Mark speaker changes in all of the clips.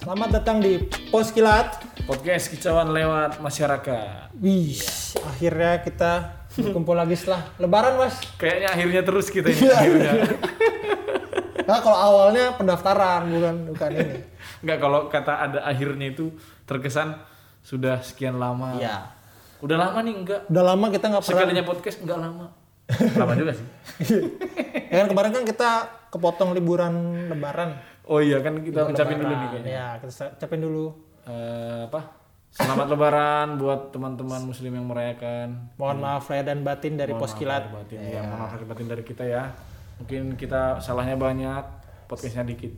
Speaker 1: Selamat datang di Pos Kilat.
Speaker 2: Podcast kicauan lewat masyarakat.
Speaker 1: Wih, akhirnya kita berkumpul lagi setelah Lebaran, Mas.
Speaker 2: Kayaknya akhirnya terus kita ini akhirnya.
Speaker 1: Nah, kalau awalnya pendaftaran bukan bukan ini.
Speaker 2: Enggak kalau kata ada akhirnya itu terkesan sudah sekian lama.
Speaker 1: Iya.
Speaker 2: Udah lama nih enggak.
Speaker 1: Udah lama kita nggak pernah.
Speaker 2: Sekalinya podcast enggak lama. Lama juga sih.
Speaker 1: Ya kan kemarin kan kita kepotong liburan Lebaran.
Speaker 2: Oh iya kan kita ucapin dulu nih kayaknya.
Speaker 1: Ya, kita capek dulu.
Speaker 2: Eh, apa? Selamat lebaran buat teman-teman muslim yang merayakan.
Speaker 1: Mohon maaf lahir dan batin dari Pos Kilat.
Speaker 2: Lahir Batin,
Speaker 1: Iya.
Speaker 2: ya, mohon maaf lahir batin dari kita ya. Mungkin kita salahnya banyak, podcastnya dikit.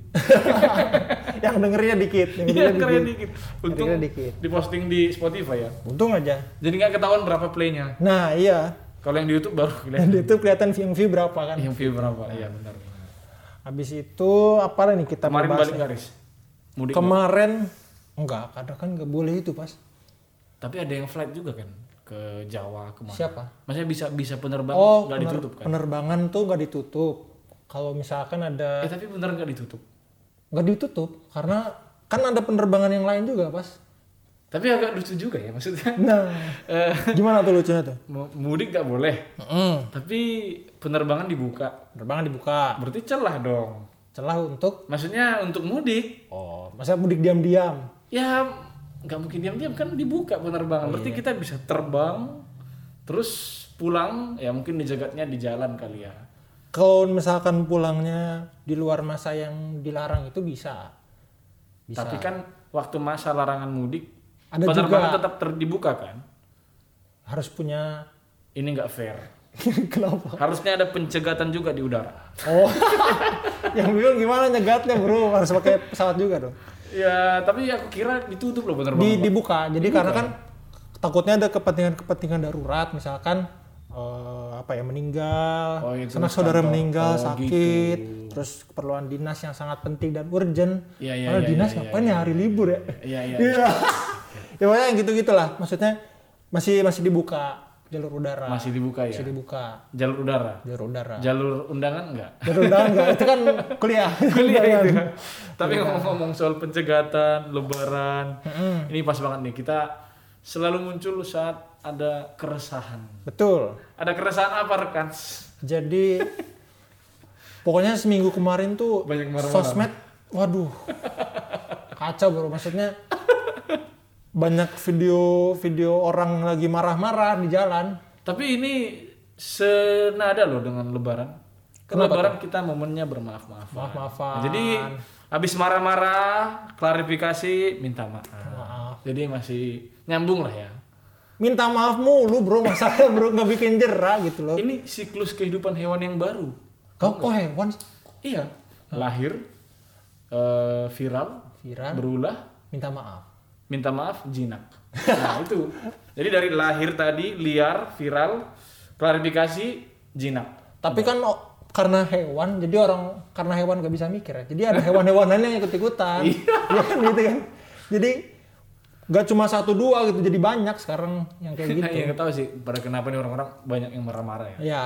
Speaker 1: yang dengernya dikit, yang
Speaker 2: Iya,
Speaker 1: dengernya
Speaker 2: keren
Speaker 1: dikit.
Speaker 2: dikit. Untung
Speaker 1: Keren dikit.
Speaker 2: diposting di Spotify ya.
Speaker 1: Untung aja.
Speaker 2: Jadi nggak ketahuan berapa playnya.
Speaker 1: Nah, iya.
Speaker 2: Kalau yang di YouTube baru
Speaker 1: Dan
Speaker 2: kelihatan
Speaker 1: di itu kelihatan view-view berapa kan.
Speaker 2: yang view berapa. Iya benar.
Speaker 1: Habis itu apa nih kita
Speaker 2: Kemarin
Speaker 1: mau bahas
Speaker 2: balik
Speaker 1: ya?
Speaker 2: garis. Mudik.
Speaker 1: Kemarin enggak, ada kan nggak boleh itu, Pas.
Speaker 2: Tapi ada yang flight juga kan ke Jawa kemana?
Speaker 1: Siapa?
Speaker 2: Maksudnya bisa bisa penerbangan
Speaker 1: Oh,
Speaker 2: nggak
Speaker 1: pener-
Speaker 2: ditutup kan?
Speaker 1: penerbangan tuh nggak ditutup. Kalau misalkan ada
Speaker 2: Eh tapi bener nggak ditutup.
Speaker 1: nggak ditutup karena kan ada penerbangan yang lain juga, Pas.
Speaker 2: Tapi agak lucu juga ya maksudnya.
Speaker 1: Nah,
Speaker 2: Eh,
Speaker 1: gimana tuh lucunya tuh?
Speaker 2: mu- mudik nggak boleh,
Speaker 1: Mm-mm.
Speaker 2: tapi penerbangan dibuka.
Speaker 1: Penerbangan dibuka,
Speaker 2: Berarti celah dong.
Speaker 1: celah untuk
Speaker 2: Maksudnya untuk mudik
Speaker 1: oh, masa mudik diam-diam.
Speaker 2: ya nggak mungkin diam-diam kan dibuka penerbangan berarti kita bisa terbang terus pulang ya mungkin dijagatnya di jalan kali ya
Speaker 1: Kalau misalkan pulangnya di luar masa yang dilarang itu bisa. Bisa.
Speaker 2: tapi kan waktu masa larangan mudik
Speaker 1: Ada
Speaker 2: penerbangan
Speaker 1: juga.
Speaker 2: tetap ter- dibuka kan
Speaker 1: Harus punya
Speaker 2: ini nggak fair
Speaker 1: kenapa?
Speaker 2: harusnya ada pencegatan juga di udara
Speaker 1: Oh, yang bingung gimana nyegatnya bro? Harus pakai pesawat juga dong.
Speaker 2: ya tapi aku kira ditutup loh
Speaker 1: Di,
Speaker 2: penerbangan
Speaker 1: dibuka. Jadi karena kan
Speaker 2: ya?
Speaker 1: takutnya ada kepentingan-kepentingan darurat, misalkan eh, apa ya meninggal,
Speaker 2: Oh, iya,
Speaker 1: karena
Speaker 2: terus
Speaker 1: saudara
Speaker 2: kantor.
Speaker 1: meninggal
Speaker 2: Oh,
Speaker 1: sakit, terus keperluan dinas yang sangat penting dan urgent.
Speaker 2: Iya, iya,
Speaker 1: Padahal
Speaker 2: iya,
Speaker 1: dinas
Speaker 2: iya,
Speaker 1: ngapain ya hari libur ya?
Speaker 2: Iya, iya,
Speaker 1: Iya. ya pokoknya yang gitu-gitulah. Maksudnya masih masih dibuka jalur udara.
Speaker 2: masih dibuka ya
Speaker 1: Masih dibuka
Speaker 2: jalur udara
Speaker 1: jalur udara.
Speaker 2: jalur undangan nggak
Speaker 1: Jalur udara enggak, itu kan kuliah.
Speaker 2: kuliah itu. Iya. Tapi ngomong-ngomong soal pencegatan, lebaran, ini pas banget nih kita selalu muncul saat ada keresahan.
Speaker 1: Betul.
Speaker 2: Ada keresahan apa rekan?
Speaker 1: Jadi pokoknya seminggu kemarin tuh
Speaker 2: Banyak marah-marah.
Speaker 1: sosmed, waduh kacau bro. Maksudnya banyak video-video orang lagi marah-marah di jalan.
Speaker 2: Tapi ini senada loh dengan lebaran. Ke lebaran kita momennya bermaaf-maaf.
Speaker 1: Maaf-maafan.
Speaker 2: Jadi habis marah-marah, klarifikasi, minta maaf.
Speaker 1: Maaf.
Speaker 2: Jadi masih nyambung lah ya.
Speaker 1: Minta maaf mulu bro, masalahnya bro nggak bikin jerah gitu loh.
Speaker 2: Ini siklus kehidupan hewan yang baru.
Speaker 1: Kau kok hewan sih?
Speaker 2: Iya, lahir, eh, viral,
Speaker 1: Viral
Speaker 2: berulah,
Speaker 1: minta maaf.
Speaker 2: minta maaf jinak nah itu jadi dari lahir tadi liar viral klarifikasi jinak
Speaker 1: Tapi kan oh, karena hewan, jadi orang karena hewan nggak bisa mikir ya. Jadi ada hewan-hewan lain yang ikut-ikutan. Iya kan gitu kan. Jadi nggak cuma satu dua gitu, jadi banyak sekarang yang kayak
Speaker 2: nah
Speaker 1: gitu.
Speaker 2: yang nggak tahu sih pada kenapa nih orang-orang banyak yang marah-marah ya
Speaker 1: Ya.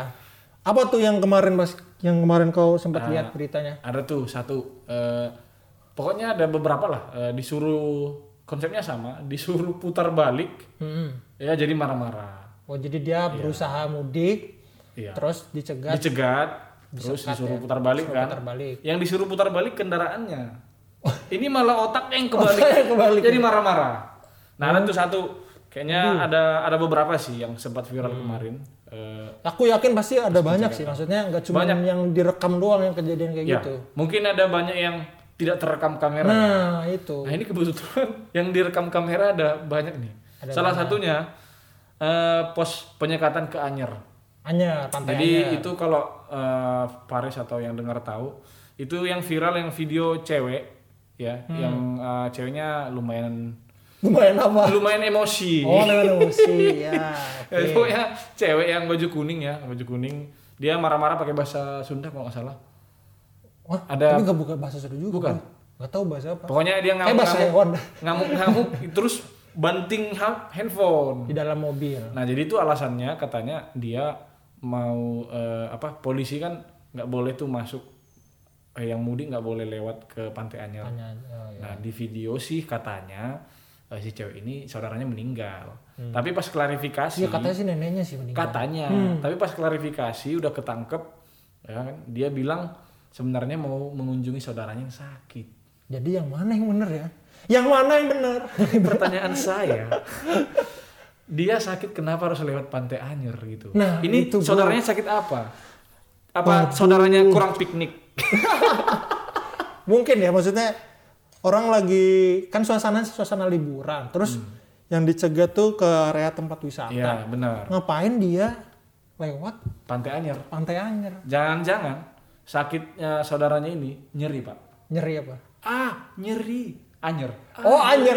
Speaker 1: Apa tuh yang kemarin Mas? Yang kemarin kau sempat lihat beritanya?
Speaker 2: ada tuh satu eh, pokoknya ada beberapa lah eh, disuruh konsepnya sama disuruh putar balik
Speaker 1: Hmm.
Speaker 2: ya jadi marah-marah
Speaker 1: Oh, jadi dia berusaha mudik
Speaker 2: iya
Speaker 1: terus dicegat
Speaker 2: dicegat terus disuruh putar balik kan
Speaker 1: putar balik.
Speaker 2: yang disuruh putar balik kendaraannya ini malah otak yang kebalik,
Speaker 1: Otaknya kebalik.
Speaker 2: jadi marah-marah nah ada tuh satu kayaknya ada ada beberapa sih yang sempat viral kemarin Eh,
Speaker 1: Aku yakin pasti ada banyak sih. Maksudnya nggak cuma yang direkam doang yang kejadian kayak
Speaker 2: ya
Speaker 1: gitu.
Speaker 2: mungkin ada banyak yang tidak terekam kamera nah,
Speaker 1: Nah, itu.
Speaker 2: ini kebetulan yang direkam kamera ada banyak nih salah satunya eh, pos penyekatan ke Anyer
Speaker 1: Anyar pantai
Speaker 2: Jadi
Speaker 1: Anyar.
Speaker 2: itu kalau eh, Paris atau yang dengar tahu, itu yang viral yang video cewek ya, yang eh, ceweknya lumayan
Speaker 1: Lumayan apa?
Speaker 2: lumayan emosi.
Speaker 1: Oh, lewat emosi ya.
Speaker 2: Ya, pokoknya cewek yang baju kuning ya, baju kuning, dia marah-marah pakai bahasa Sunda kalau nggak salah.
Speaker 1: Wah,
Speaker 2: Ada-
Speaker 1: tapi nggak buka bahasa Sunda juga. kan?
Speaker 2: Bukan.
Speaker 1: Nggak tahu bahasa apa.
Speaker 2: Pokoknya dia
Speaker 1: Kayak Eh, bahasa ya? Oh.
Speaker 2: ngamuk-ngamuk,
Speaker 1: hewan
Speaker 2: ngamuk-ngamuk terus banting ha- handphone.
Speaker 1: di dalam mobil.
Speaker 2: Nah jadi itu alasannya katanya dia mau eh, apa polisi kan nggak boleh tuh masuk eh, yang mudik nggak boleh lewat ke Pantai Anyer.
Speaker 1: Tanya, oh, iya.
Speaker 2: Nah di video sih katanya eh, si cewek ini saudaranya meninggal. Tapi pas klarifikasi
Speaker 1: Hmm. Iya, katanya sih neneknya sih meninggal.
Speaker 2: katanya
Speaker 1: Hmm.
Speaker 2: tapi pas klarifikasi udah ketangkep ya kan dia bilang sebenarnya mau mengunjungi saudaranya yang sakit
Speaker 1: Jadi yang mana yang bener ya? Yang mana yang bener?
Speaker 2: pertanyaan saya dia sakit kenapa harus lewat pantai anyer gitu
Speaker 1: Nah,
Speaker 2: ini
Speaker 1: itu gua-
Speaker 2: saudaranya sakit apa apa saudaranya kurang piknik
Speaker 1: Mungkin ya maksudnya orang lagi kan suasana suasana liburan. Terus yang dicegah tuh ke area tempat wisata.
Speaker 2: ya benar
Speaker 1: Ngapain dia lewat
Speaker 2: pantai anyer
Speaker 1: pantai Anyer?
Speaker 2: jangan-jangan sakitnya saudaranya ini nyeri pak
Speaker 1: Nyeri apa?
Speaker 2: ah nyeri anyer
Speaker 1: Oh Anyer.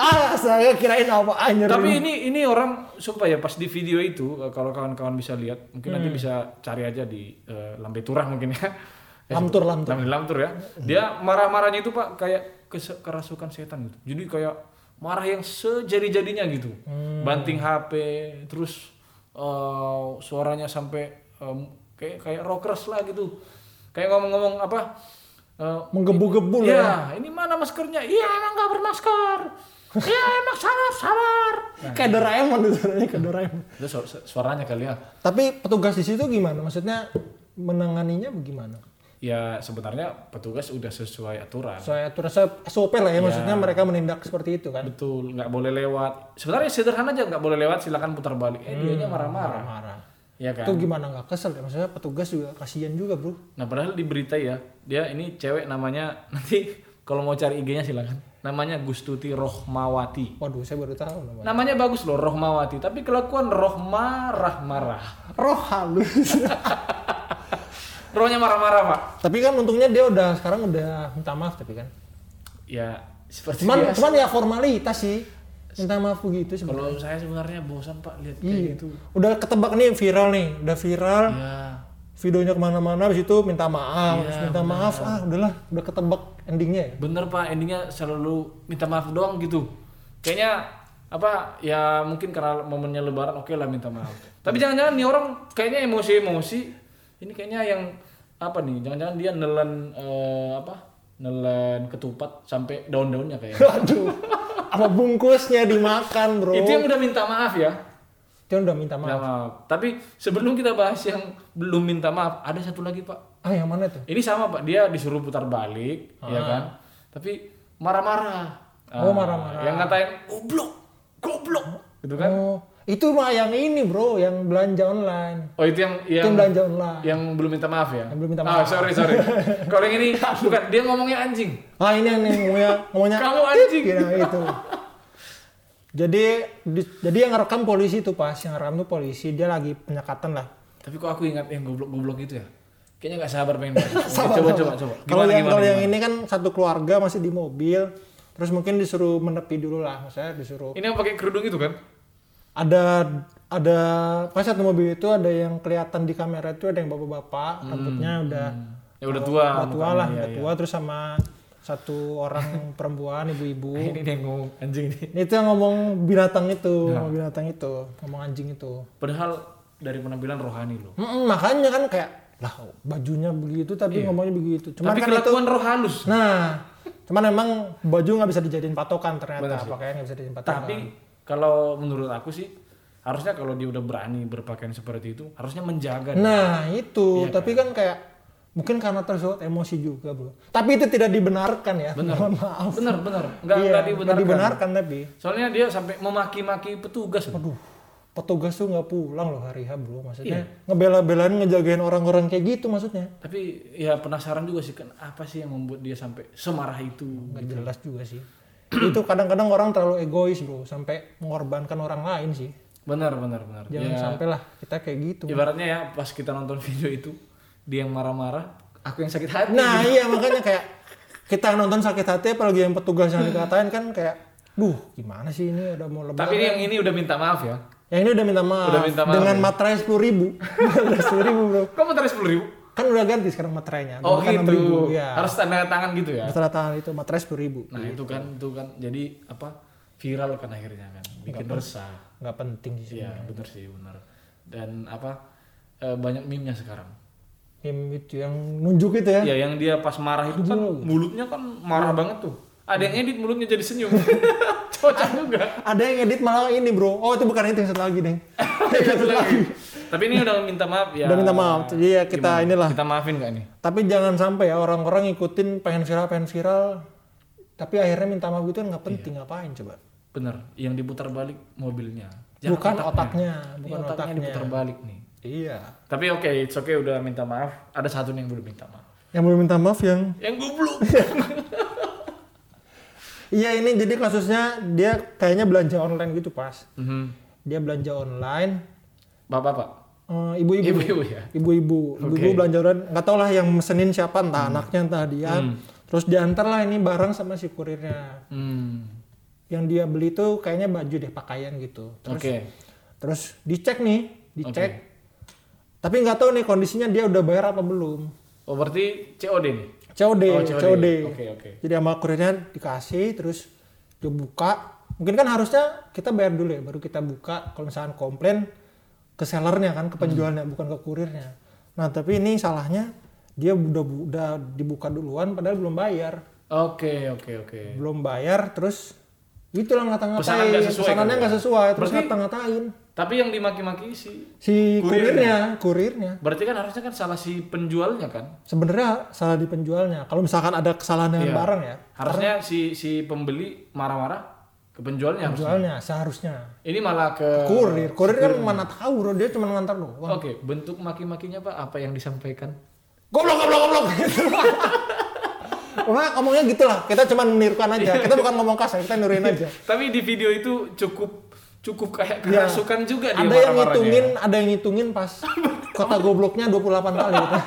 Speaker 1: ah saya kirain apa Anyer.
Speaker 2: Tapi ini ini orang sumpah ya pas di video itu eh, kalau kawan-kawan bisa lihat mungkin nanti bisa cari aja di eh, Lambe Turah mungkin ya. Eh,
Speaker 1: Lamtur lamtur.
Speaker 2: Lambe Lamtur ya. Dia marah-marahnya itu Pak kayak kese- kerasukan setan gitu. Jadi kayak marah yang sejadi-jadinya gitu. Banting HP terus eh, suaranya sampai em, kayak kayak rockers lah gitu. Kayak ngomong-ngomong apa eh,
Speaker 1: Menggebu-gebu lah.
Speaker 2: Iya, ini mana maskernya? Iya, emang nggak bermasker. Iya, emang salah, sabar.
Speaker 1: ya. Kayak Doraemon tuh suaranya kayak Doraemon.
Speaker 2: Itu su- su- suaranya kali ya.
Speaker 1: Tapi petugas di situ gimana? Maksudnya menanganinya bagaimana?
Speaker 2: Ya sebenarnya petugas udah sesuai aturan.
Speaker 1: Saya terasa SOP lah ya, maksudnya mereka menindak seperti itu kan.
Speaker 2: Betul, nggak boleh lewat. Sebenarnya sederhana aja nggak boleh lewat, silakan putar balik. Eh, dianya
Speaker 1: Hmm.
Speaker 2: marah-marah.
Speaker 1: Marah.
Speaker 2: Ya kan?
Speaker 1: Itu gimana nggak kesel ya? Maksudnya petugas juga kasihan juga bro.
Speaker 2: Nah, padahal di berita ya, dia ini cewek namanya nanti kalau mau cari IG-nya silakan. Namanya Gustuti Rohmawati.
Speaker 1: Waduh, saya baru tahu namanya.
Speaker 2: Namanya bagus loh, Rohmawati, tapi kelakuan roh marah-marah.
Speaker 1: Roh halus.
Speaker 2: Rohnya marah-marah, Pak.
Speaker 1: tapi kan untungnya dia udah sekarang udah minta maaf tapi kan.
Speaker 2: Ya, seperti
Speaker 1: Cuman
Speaker 2: biasa.
Speaker 1: cuman ya formalitas sih. Minta maaf begitu sebenarnya.
Speaker 2: Kalau saya sebenarnya bosan, Pak, lihat kayak
Speaker 1: Iya.
Speaker 2: gitu.
Speaker 1: Udah ketebak nih viral nih, udah viral.
Speaker 2: Ya,
Speaker 1: Videonya kemana-mana, habis itu minta maaf,
Speaker 2: Iya,
Speaker 1: terus minta maaf, ah udahlah, udah ketebak endingnya ya.
Speaker 2: Bener pak, endingnya selalu minta maaf doang gitu. Kayaknya apa ya mungkin karena momennya lebaran oke lah minta maaf. Tapi jangan-jangan nih orang kayaknya emosi-emosi. Ini kayaknya yang apa nih? Jangan-jangan dia nelen eh, apa? Nelen ketupat sampai daun-daunnya kayaknya.
Speaker 1: Aduh, apa bungkusnya dimakan bro?
Speaker 2: Itu yang udah minta maaf ya.
Speaker 1: Dia udah minta maaf.
Speaker 2: Minta maaf. Tapi sebelum kita bahas yang belum minta maaf, ada satu lagi pak.
Speaker 1: Ah yang mana tuh?
Speaker 2: Ini sama pak, dia disuruh putar balik, ya kan? Tapi marah-marah.
Speaker 1: Ah. Oh,
Speaker 2: Ah,
Speaker 1: marah-marah.
Speaker 2: Yang ngatain goblok, goblok, gitu kan?
Speaker 1: Oh, itu mah yang ini bro, yang belanja online.
Speaker 2: Oh itu yang
Speaker 1: Itu yang
Speaker 2: yang
Speaker 1: belanja online.
Speaker 2: yang belum minta maaf ya?
Speaker 1: Yang belum minta maaf.
Speaker 2: Ah sorry sorry. Kalau yang ini bukan dia ngomongnya anjing.
Speaker 1: Ah ini yang yang ngomongnya, ngomongnya
Speaker 2: Kamu anjing.
Speaker 1: kira itu. gitu, Jadi di- jadi yang rekam polisi tuh pas, yang rekam tuh polisi, dia lagi penyekatan lah.
Speaker 2: Tapi kok aku ingat yang goblok-goblok itu ya? Kayaknya nggak sabar pengen bahas. Oke,
Speaker 1: Sabar,
Speaker 2: coba,
Speaker 1: sabar.
Speaker 2: coba coba
Speaker 1: Kalau
Speaker 2: Gimana,
Speaker 1: yang
Speaker 2: gimana,
Speaker 1: kalau yang
Speaker 2: gimana?
Speaker 1: ini kan satu keluarga masih di mobil, terus mungkin disuruh menepi dulu lah, maksudnya disuruh
Speaker 2: ini yang pakai kerudung itu kan?
Speaker 1: ada ada pas satu mobil itu ada yang kelihatan di kamera itu ada yang
Speaker 2: Hmm,
Speaker 1: bapak-bapak rambutnya udah
Speaker 2: Ya udah tua.
Speaker 1: Oh, udah tua
Speaker 2: mukanya,
Speaker 1: lah,
Speaker 2: iya,
Speaker 1: udah
Speaker 2: iya.
Speaker 1: tua terus sama satu orang perempuan ibu-ibu.
Speaker 2: Ini dia yang ngomong anjing ini.
Speaker 1: itu yang ngomong binatang itu,
Speaker 2: Ya.
Speaker 1: ngomong binatang itu, ngomong anjing itu.
Speaker 2: Padahal dari penampilan rohani loh.
Speaker 1: Mm-mm, makanya kan kayak lah bajunya begitu tapi ngomongnya begitu. Cuman
Speaker 2: Iya. Tapi
Speaker 1: kan itu
Speaker 2: kelakuan roh halus.
Speaker 1: Nah, cuman emang baju nggak bisa dijadiin patokan ternyata, pakaian nggak bisa dijadiin patokan.
Speaker 2: Tapi kalau menurut aku sih harusnya kalau dia udah berani berpakaian seperti itu harusnya menjaga.
Speaker 1: Nah
Speaker 2: Iya,
Speaker 1: itu, tapi kan kayak mungkin karena tersulut emosi juga bro. Tapi itu tidak dibenarkan ya. Mohon maaf.
Speaker 2: Bener bener, nggak
Speaker 1: Iya,
Speaker 2: nggak
Speaker 1: nggak
Speaker 2: dibenarkan.
Speaker 1: dibenarkan tapi.
Speaker 2: Soalnya dia sampai memaki-maki petugas.
Speaker 1: Aduh, petugas tuh nggak pulang loh hari H bro. Maksudnya
Speaker 2: Iya.
Speaker 1: ngebela-belain ngejagain orang-orang kayak gitu maksudnya.
Speaker 2: Tapi ya penasaran juga sih kan apa sih yang membuat dia sampai semarah itu?
Speaker 1: Nggak jelas juga sih. Gitu. itu kadang-kadang orang terlalu egois bro, sampai mengorbankan orang lain sih.
Speaker 2: Bener bener bener.
Speaker 1: Jangan
Speaker 2: Ya,
Speaker 1: sampailah kita kayak gitu.
Speaker 2: ibaratnya ya pas kita nonton video itu dia yang marah-marah, aku yang sakit hati.
Speaker 1: Nah iya makanya kayak kita nonton sakit hati apalagi yang petugas yang dikatain kan kayak duh gimana sih ini udah mau lebaran.
Speaker 2: Tapi ini yang ini udah minta maaf ya.
Speaker 1: Yang ini udah minta maaf,
Speaker 2: Udah minta maaf, ya?
Speaker 1: dengan materai sepuluh ribu, sepuluh ribu bro.
Speaker 2: Kok mau tarik sepuluh ribu?
Speaker 1: Kan udah ganti sekarang materainya.
Speaker 2: Oh
Speaker 1: Dulu kan
Speaker 2: gitu.
Speaker 1: 6.000, ya.
Speaker 2: Harus tanda tangan gitu ya.
Speaker 1: Materai tangan itu materai sepuluh ribu.
Speaker 2: Nah itu kan
Speaker 1: iya.
Speaker 2: itu kan jadi apa viral kan akhirnya kan bikin resah.
Speaker 1: Nggak penting sih.
Speaker 2: Iya bener sih bener. Dan apa eh, banyak meme-nya sekarang.
Speaker 1: meme itu yang nunjuk itu ya.
Speaker 2: Ya yang dia pas marah itu kan
Speaker 1: Aduh. Iya.
Speaker 2: mulutnya kan marah banget tuh. Ada yang edit mulutnya jadi senyum. Cocok juga.
Speaker 1: Ada yang edit malah ini bro. Oh itu bukan itu yang satu lagi deh. Yang satu lagi.
Speaker 2: Iya. Tapi ini udah minta maaf ya.
Speaker 1: Iya, Udah minta maaf. Jadi ya kita
Speaker 2: Gimana?
Speaker 1: inilah.
Speaker 2: Kita maafin gak nih?
Speaker 1: Tapi jangan sampai ya orang-orang ngikutin pengen viral pengen viral. Tapi akhirnya minta maaf itu kan nggak penting
Speaker 2: Iya.
Speaker 1: ngapain coba.
Speaker 2: Bener. Yang diputar balik mobilnya.
Speaker 1: bukan otaknya,
Speaker 2: Ini
Speaker 1: bukan
Speaker 2: Iya, otaknya,
Speaker 1: otaknya.
Speaker 2: diputar balik nih.
Speaker 1: Iya.
Speaker 2: Tapi oke, it's okay udah minta maaf. Ada satu nih yang belum minta maaf.
Speaker 1: Yang belum minta maaf yang
Speaker 2: Yang goblok.
Speaker 1: Iya ini jadi kasusnya dia kayaknya belanja online gitu pas.
Speaker 2: Mhm.
Speaker 1: Dia belanja online.
Speaker 2: Bapak-bapak.
Speaker 1: Eh, ibu-ibu.
Speaker 2: Ibu-ibu ya.
Speaker 1: ibu-ibu ibu-ibu
Speaker 2: Oke. Hmm.
Speaker 1: belanja online nggak tau lah yang mesenin siapa entah anaknya entah dia terus diantar lah ini barang sama si kurirnya
Speaker 2: Hmm.
Speaker 1: yang dia beli tuh kayaknya baju deh pakaian gitu
Speaker 2: Oke.
Speaker 1: terus terus dicek nih dicek tapi nggak tahu nih kondisinya dia udah bayar apa belum
Speaker 2: Oh berarti COD nih?
Speaker 1: COD
Speaker 2: Oh,
Speaker 1: COD,
Speaker 2: COD. Oke, oke.
Speaker 1: jadi sama kurirnya dikasih terus dia buka mungkin kan harusnya kita bayar dulu ya baru kita buka kalau misalkan komplain ke sellernya kan ke
Speaker 2: Hmm.
Speaker 1: penjualnya bukan ke kurirnya nah tapi ini salahnya dia udah udah dibuka duluan padahal belum bayar
Speaker 2: Oke oke oke.
Speaker 1: belum bayar terus gitu lah ngata-ngatain
Speaker 2: Pesanan nggak sesuai
Speaker 1: pesanannya
Speaker 2: kan?
Speaker 1: nggak sesuai terus
Speaker 2: Berarti-
Speaker 1: ngata-ngatain
Speaker 2: Tapi yang dimaki-maki sih.
Speaker 1: si
Speaker 2: Kurirnya.
Speaker 1: kurirnya kurirnya
Speaker 2: Berarti kan harusnya kan salah si penjualnya kan?
Speaker 1: sebenarnya salah di penjualnya kalau misalkan ada kesalahan dengan
Speaker 2: Iya.
Speaker 1: barang ya
Speaker 2: Harusnya si si pembeli marah-marah ke penjualnya harusnya.
Speaker 1: penjualnya seharusnya
Speaker 2: Ini malah ke
Speaker 1: kurir kurir kan mana tahu bro dia cuma ngantar doang
Speaker 2: Oke, bentuk maki-makinya Pak apa yang disampaikan?
Speaker 1: goblok goblok goblok gitu. Pokoknya ngomongnya gitu lah, kita cuma menirukan aja.
Speaker 2: Iya.
Speaker 1: Kita bukan ngomong kasar, kita niruin aja.
Speaker 2: Tapi di video itu cukup cukup kayak
Speaker 1: Iya.
Speaker 2: kerasukan juga dia
Speaker 1: Ada yang
Speaker 2: marah-marahnya.
Speaker 1: ngitungin, ada yang ngitungin pas kota gobloknya 28 kali gitu.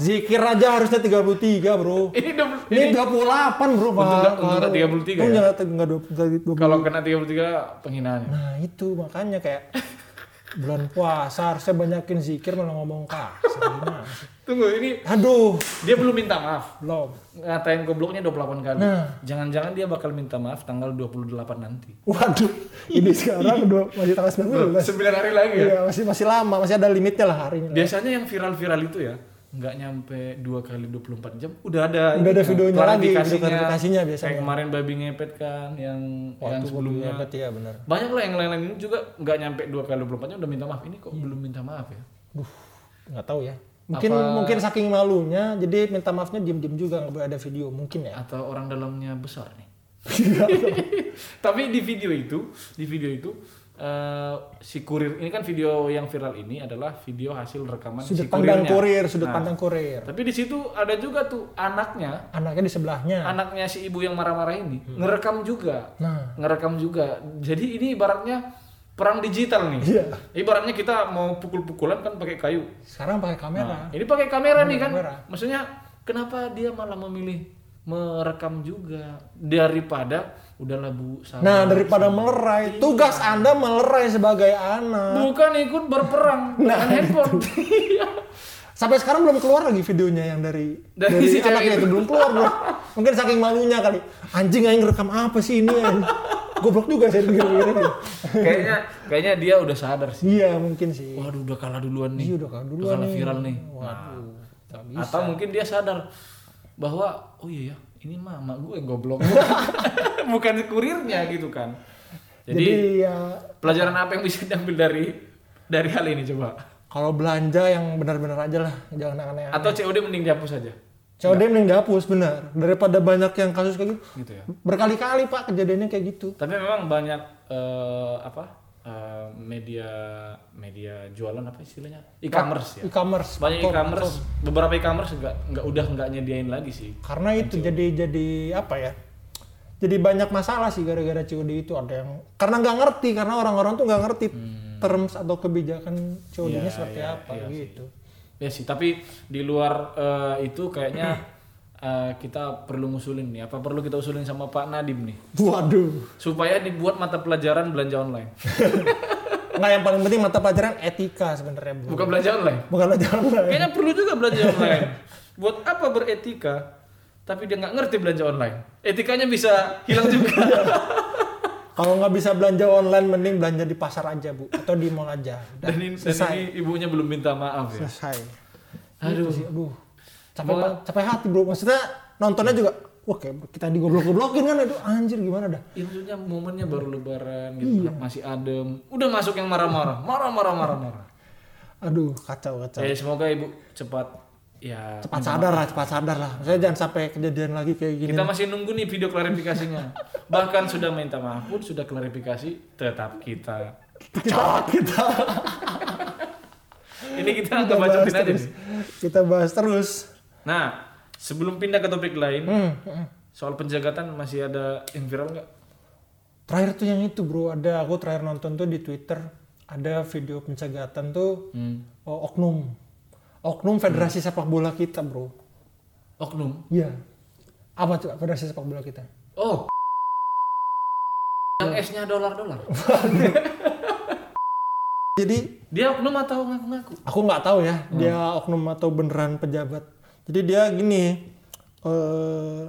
Speaker 1: Zikir aja harusnya 33, Bro.
Speaker 2: Ini dom-
Speaker 1: Ini
Speaker 2: ini
Speaker 1: 28, Bro.
Speaker 2: Untung
Speaker 1: mahal.
Speaker 2: nggak- untung nggak 33 ya?
Speaker 1: Untung nggak- nggak dua- nggak dua-
Speaker 2: kalau kena 33 penghinaannya.
Speaker 1: Nah, itu makanya kayak bulan puasa harusnya banyakin zikir malah ngomong kasar. Gimana sih?
Speaker 2: Tunggu, ini
Speaker 1: Aduh,
Speaker 2: dia belum minta maaf.
Speaker 1: belum.
Speaker 2: ngatain gobloknya 28 kali.
Speaker 1: Nah.
Speaker 2: Jangan-jangan dia bakal minta maaf tanggal 28 nanti.
Speaker 1: Waduh, ini sekarang udah masih tanggal 19.
Speaker 2: 9 hari lagi ya.
Speaker 1: Iya, masih masih lama, masih ada limitnya lah harinya. lah.
Speaker 2: Biasanya yang viral-viral itu ya, nggak nyampe 2 kali 24 jam udah ada
Speaker 1: Udah ada
Speaker 2: kan,
Speaker 1: videonya lagi, video
Speaker 2: klarifikasinya.
Speaker 1: klarifikasinya biasanya.
Speaker 2: Kayak kemarin babi ngepet kan yang yang sebelumnya.
Speaker 1: Hebat ya benar.
Speaker 2: Banyak lah yang lain-lain ini juga nggak nyampe 2 kali 24 jam udah minta maaf. Ini kok
Speaker 1: Iya.
Speaker 2: belum minta maaf ya?
Speaker 1: Duh, nggak tahu ya. Mungkin mungkin saking malunya, jadi minta maafnya diem-diem juga nggak boleh ada video mungkin ya.
Speaker 2: Eh, Atau orang dalamnya besar nih.
Speaker 1: Iya.
Speaker 2: Tapi di video itu, di video itu eh, si kurir ini kan video yang viral ini adalah video hasil rekaman
Speaker 1: Sudut
Speaker 2: si
Speaker 1: pandang
Speaker 2: kurirnya.
Speaker 1: kurir, sudut
Speaker 2: Nah,
Speaker 1: pandang kurir.
Speaker 2: Tapi di situ ada juga tuh anaknya,
Speaker 1: Anaknya di sebelahnya.
Speaker 2: anaknya si ibu yang marah-marah ini
Speaker 1: Hmm.
Speaker 2: ngerekam juga,
Speaker 1: Nah,
Speaker 2: ngerekam juga. Jadi ini ibaratnya perang digital nih.
Speaker 1: Iya.
Speaker 2: Ibaratnya kita mau pukul-pukulan kan pakai kayu.
Speaker 1: sekarang pakai kamera.
Speaker 2: Ini pakai kamera nih kan.
Speaker 1: kamera.
Speaker 2: Maksudnya kenapa dia malah memilih merekam juga daripada udahlah Bu sabar.
Speaker 1: Nah, daripada melerai, tugas Anda melerai sebagai anak.
Speaker 2: Bukan ikut berperang
Speaker 1: Nah,
Speaker 2: dengan handphone. Iya.
Speaker 1: Sampai sekarang belum keluar lagi videonya yang dari
Speaker 2: Dari si cewek
Speaker 1: anaknya itu
Speaker 2: itu.
Speaker 1: belum keluar bro. Mungkin saking malunya kali. Anjing aing rekam apa sih ini? Aing? Goblok juga saya pikir-pikir.
Speaker 2: kayaknya kayaknya dia udah sadar sih.
Speaker 1: Iya mungkin sih.
Speaker 2: Waduh udah kalah duluan nih.
Speaker 1: Iya udah kalah duluan
Speaker 2: kalah
Speaker 1: nih.
Speaker 2: viral nih.
Speaker 1: Waduh.
Speaker 2: Nah,
Speaker 1: nggak bisa.
Speaker 2: Atau mungkin dia sadar bahwa oh iya ya, ini mah emak gue yang goblok. Bukan kurirnya gitu kan.
Speaker 1: Jadi,
Speaker 2: Jadi,
Speaker 1: ya
Speaker 2: pelajaran apa yang bisa diambil dari dari hal ini coba?
Speaker 1: kalau belanja yang benar-benar aja lah, jangan aneh-aneh.
Speaker 2: Atau COD mending dihapus aja.
Speaker 1: COD mending dihapus benar daripada banyak yang kasus kayak gitu.
Speaker 2: Gitu ya.
Speaker 1: Berkali-kali Pak kejadiannya kayak gitu.
Speaker 2: Tapi memang banyak eh, apa? eh, media media jualan apa istilahnya? E-commerce ya.
Speaker 1: E-commerce.
Speaker 2: Banyak
Speaker 1: platform.
Speaker 2: e-commerce, beberapa e-commerce enggak enggak udah enggak nyediain lagi sih.
Speaker 1: Karena itu jadi jadi apa ya? Jadi banyak masalah sih gara-gara COD itu ada yang karena nggak ngerti karena orang-orang tuh nggak ngerti terms atau kebijakan COD-nya
Speaker 2: Hmm. Iya,
Speaker 1: seperti
Speaker 2: iya,
Speaker 1: apa
Speaker 2: iya sih.
Speaker 1: gitu.
Speaker 2: Ya sih, tapi di luar eh, itu kayaknya eh, kita perlu ngusulin nih. Apa perlu kita usulin sama Pak Nadim nih?
Speaker 1: Waduh.
Speaker 2: Supaya dibuat mata pelajaran belanja online.
Speaker 1: Nggak yang paling penting mata pelajaran etika sebenarnya bu.
Speaker 2: Bukan belanja online.
Speaker 1: Bukan pelajaran lain.
Speaker 2: Kayaknya perlu juga belanja online. Buat apa beretika? Tapi dia nggak ngerti belanja online. Etikanya bisa hilang juga.
Speaker 1: Kalau nggak bisa belanja online, mending belanja di pasar aja bu, atau di mall aja. Udah,
Speaker 2: dan, ini, dan
Speaker 1: selesai,
Speaker 2: ini ibunya belum minta maaf ya.
Speaker 1: selesai. Aduh. Gitu sih, aduh. Capek, banget, capek hati bro. Maksudnya nontonnya juga, wah kayak kita digoblok-goblokin kan. Aduh anjir gimana dah.
Speaker 2: Ya, maksudnya momennya baru lebaran gitu kan, masih adem. Udah masuk yang marah-marah, marah-marah marah-marah.
Speaker 1: Aduh kacau kacau.
Speaker 2: Eh semoga ibu cepat ya
Speaker 1: Cepat sadar lah, cepat sadar lah. Saya jangan sampai kejadian lagi kayak gini.
Speaker 2: kita masih nunggu nih video klarifikasinya. Bahkan sudah minta maaf pun sudah klarifikasi tetap kita.
Speaker 1: Kita, kita,
Speaker 2: Ini kita
Speaker 1: kita
Speaker 2: nggak
Speaker 1: bahas
Speaker 2: bacotin aja
Speaker 1: terus.
Speaker 2: nih.
Speaker 1: Kita bahas terus.
Speaker 2: Nah, sebelum pindah ke topik lain,
Speaker 1: Hmm, hmm.
Speaker 2: soal penjagatan masih ada yang viral nggak?
Speaker 1: Terakhir tuh yang itu bro, ada aku terakhir nonton tuh di Twitter ada video pencegatan tuh
Speaker 2: Hmm.
Speaker 1: oh, oknum, oknum federasi sepak bola kita bro.
Speaker 2: Oknum.
Speaker 1: Iya. Apa tuh federasi sepak bola kita?
Speaker 2: Oh. Yang S-nya dolar-dolar.
Speaker 1: Jadi
Speaker 2: Dia oknum atau ngaku-ngaku?
Speaker 1: aku nggak tahu ya dia oknum atau beneran pejabat. Jadi dia gini, eh,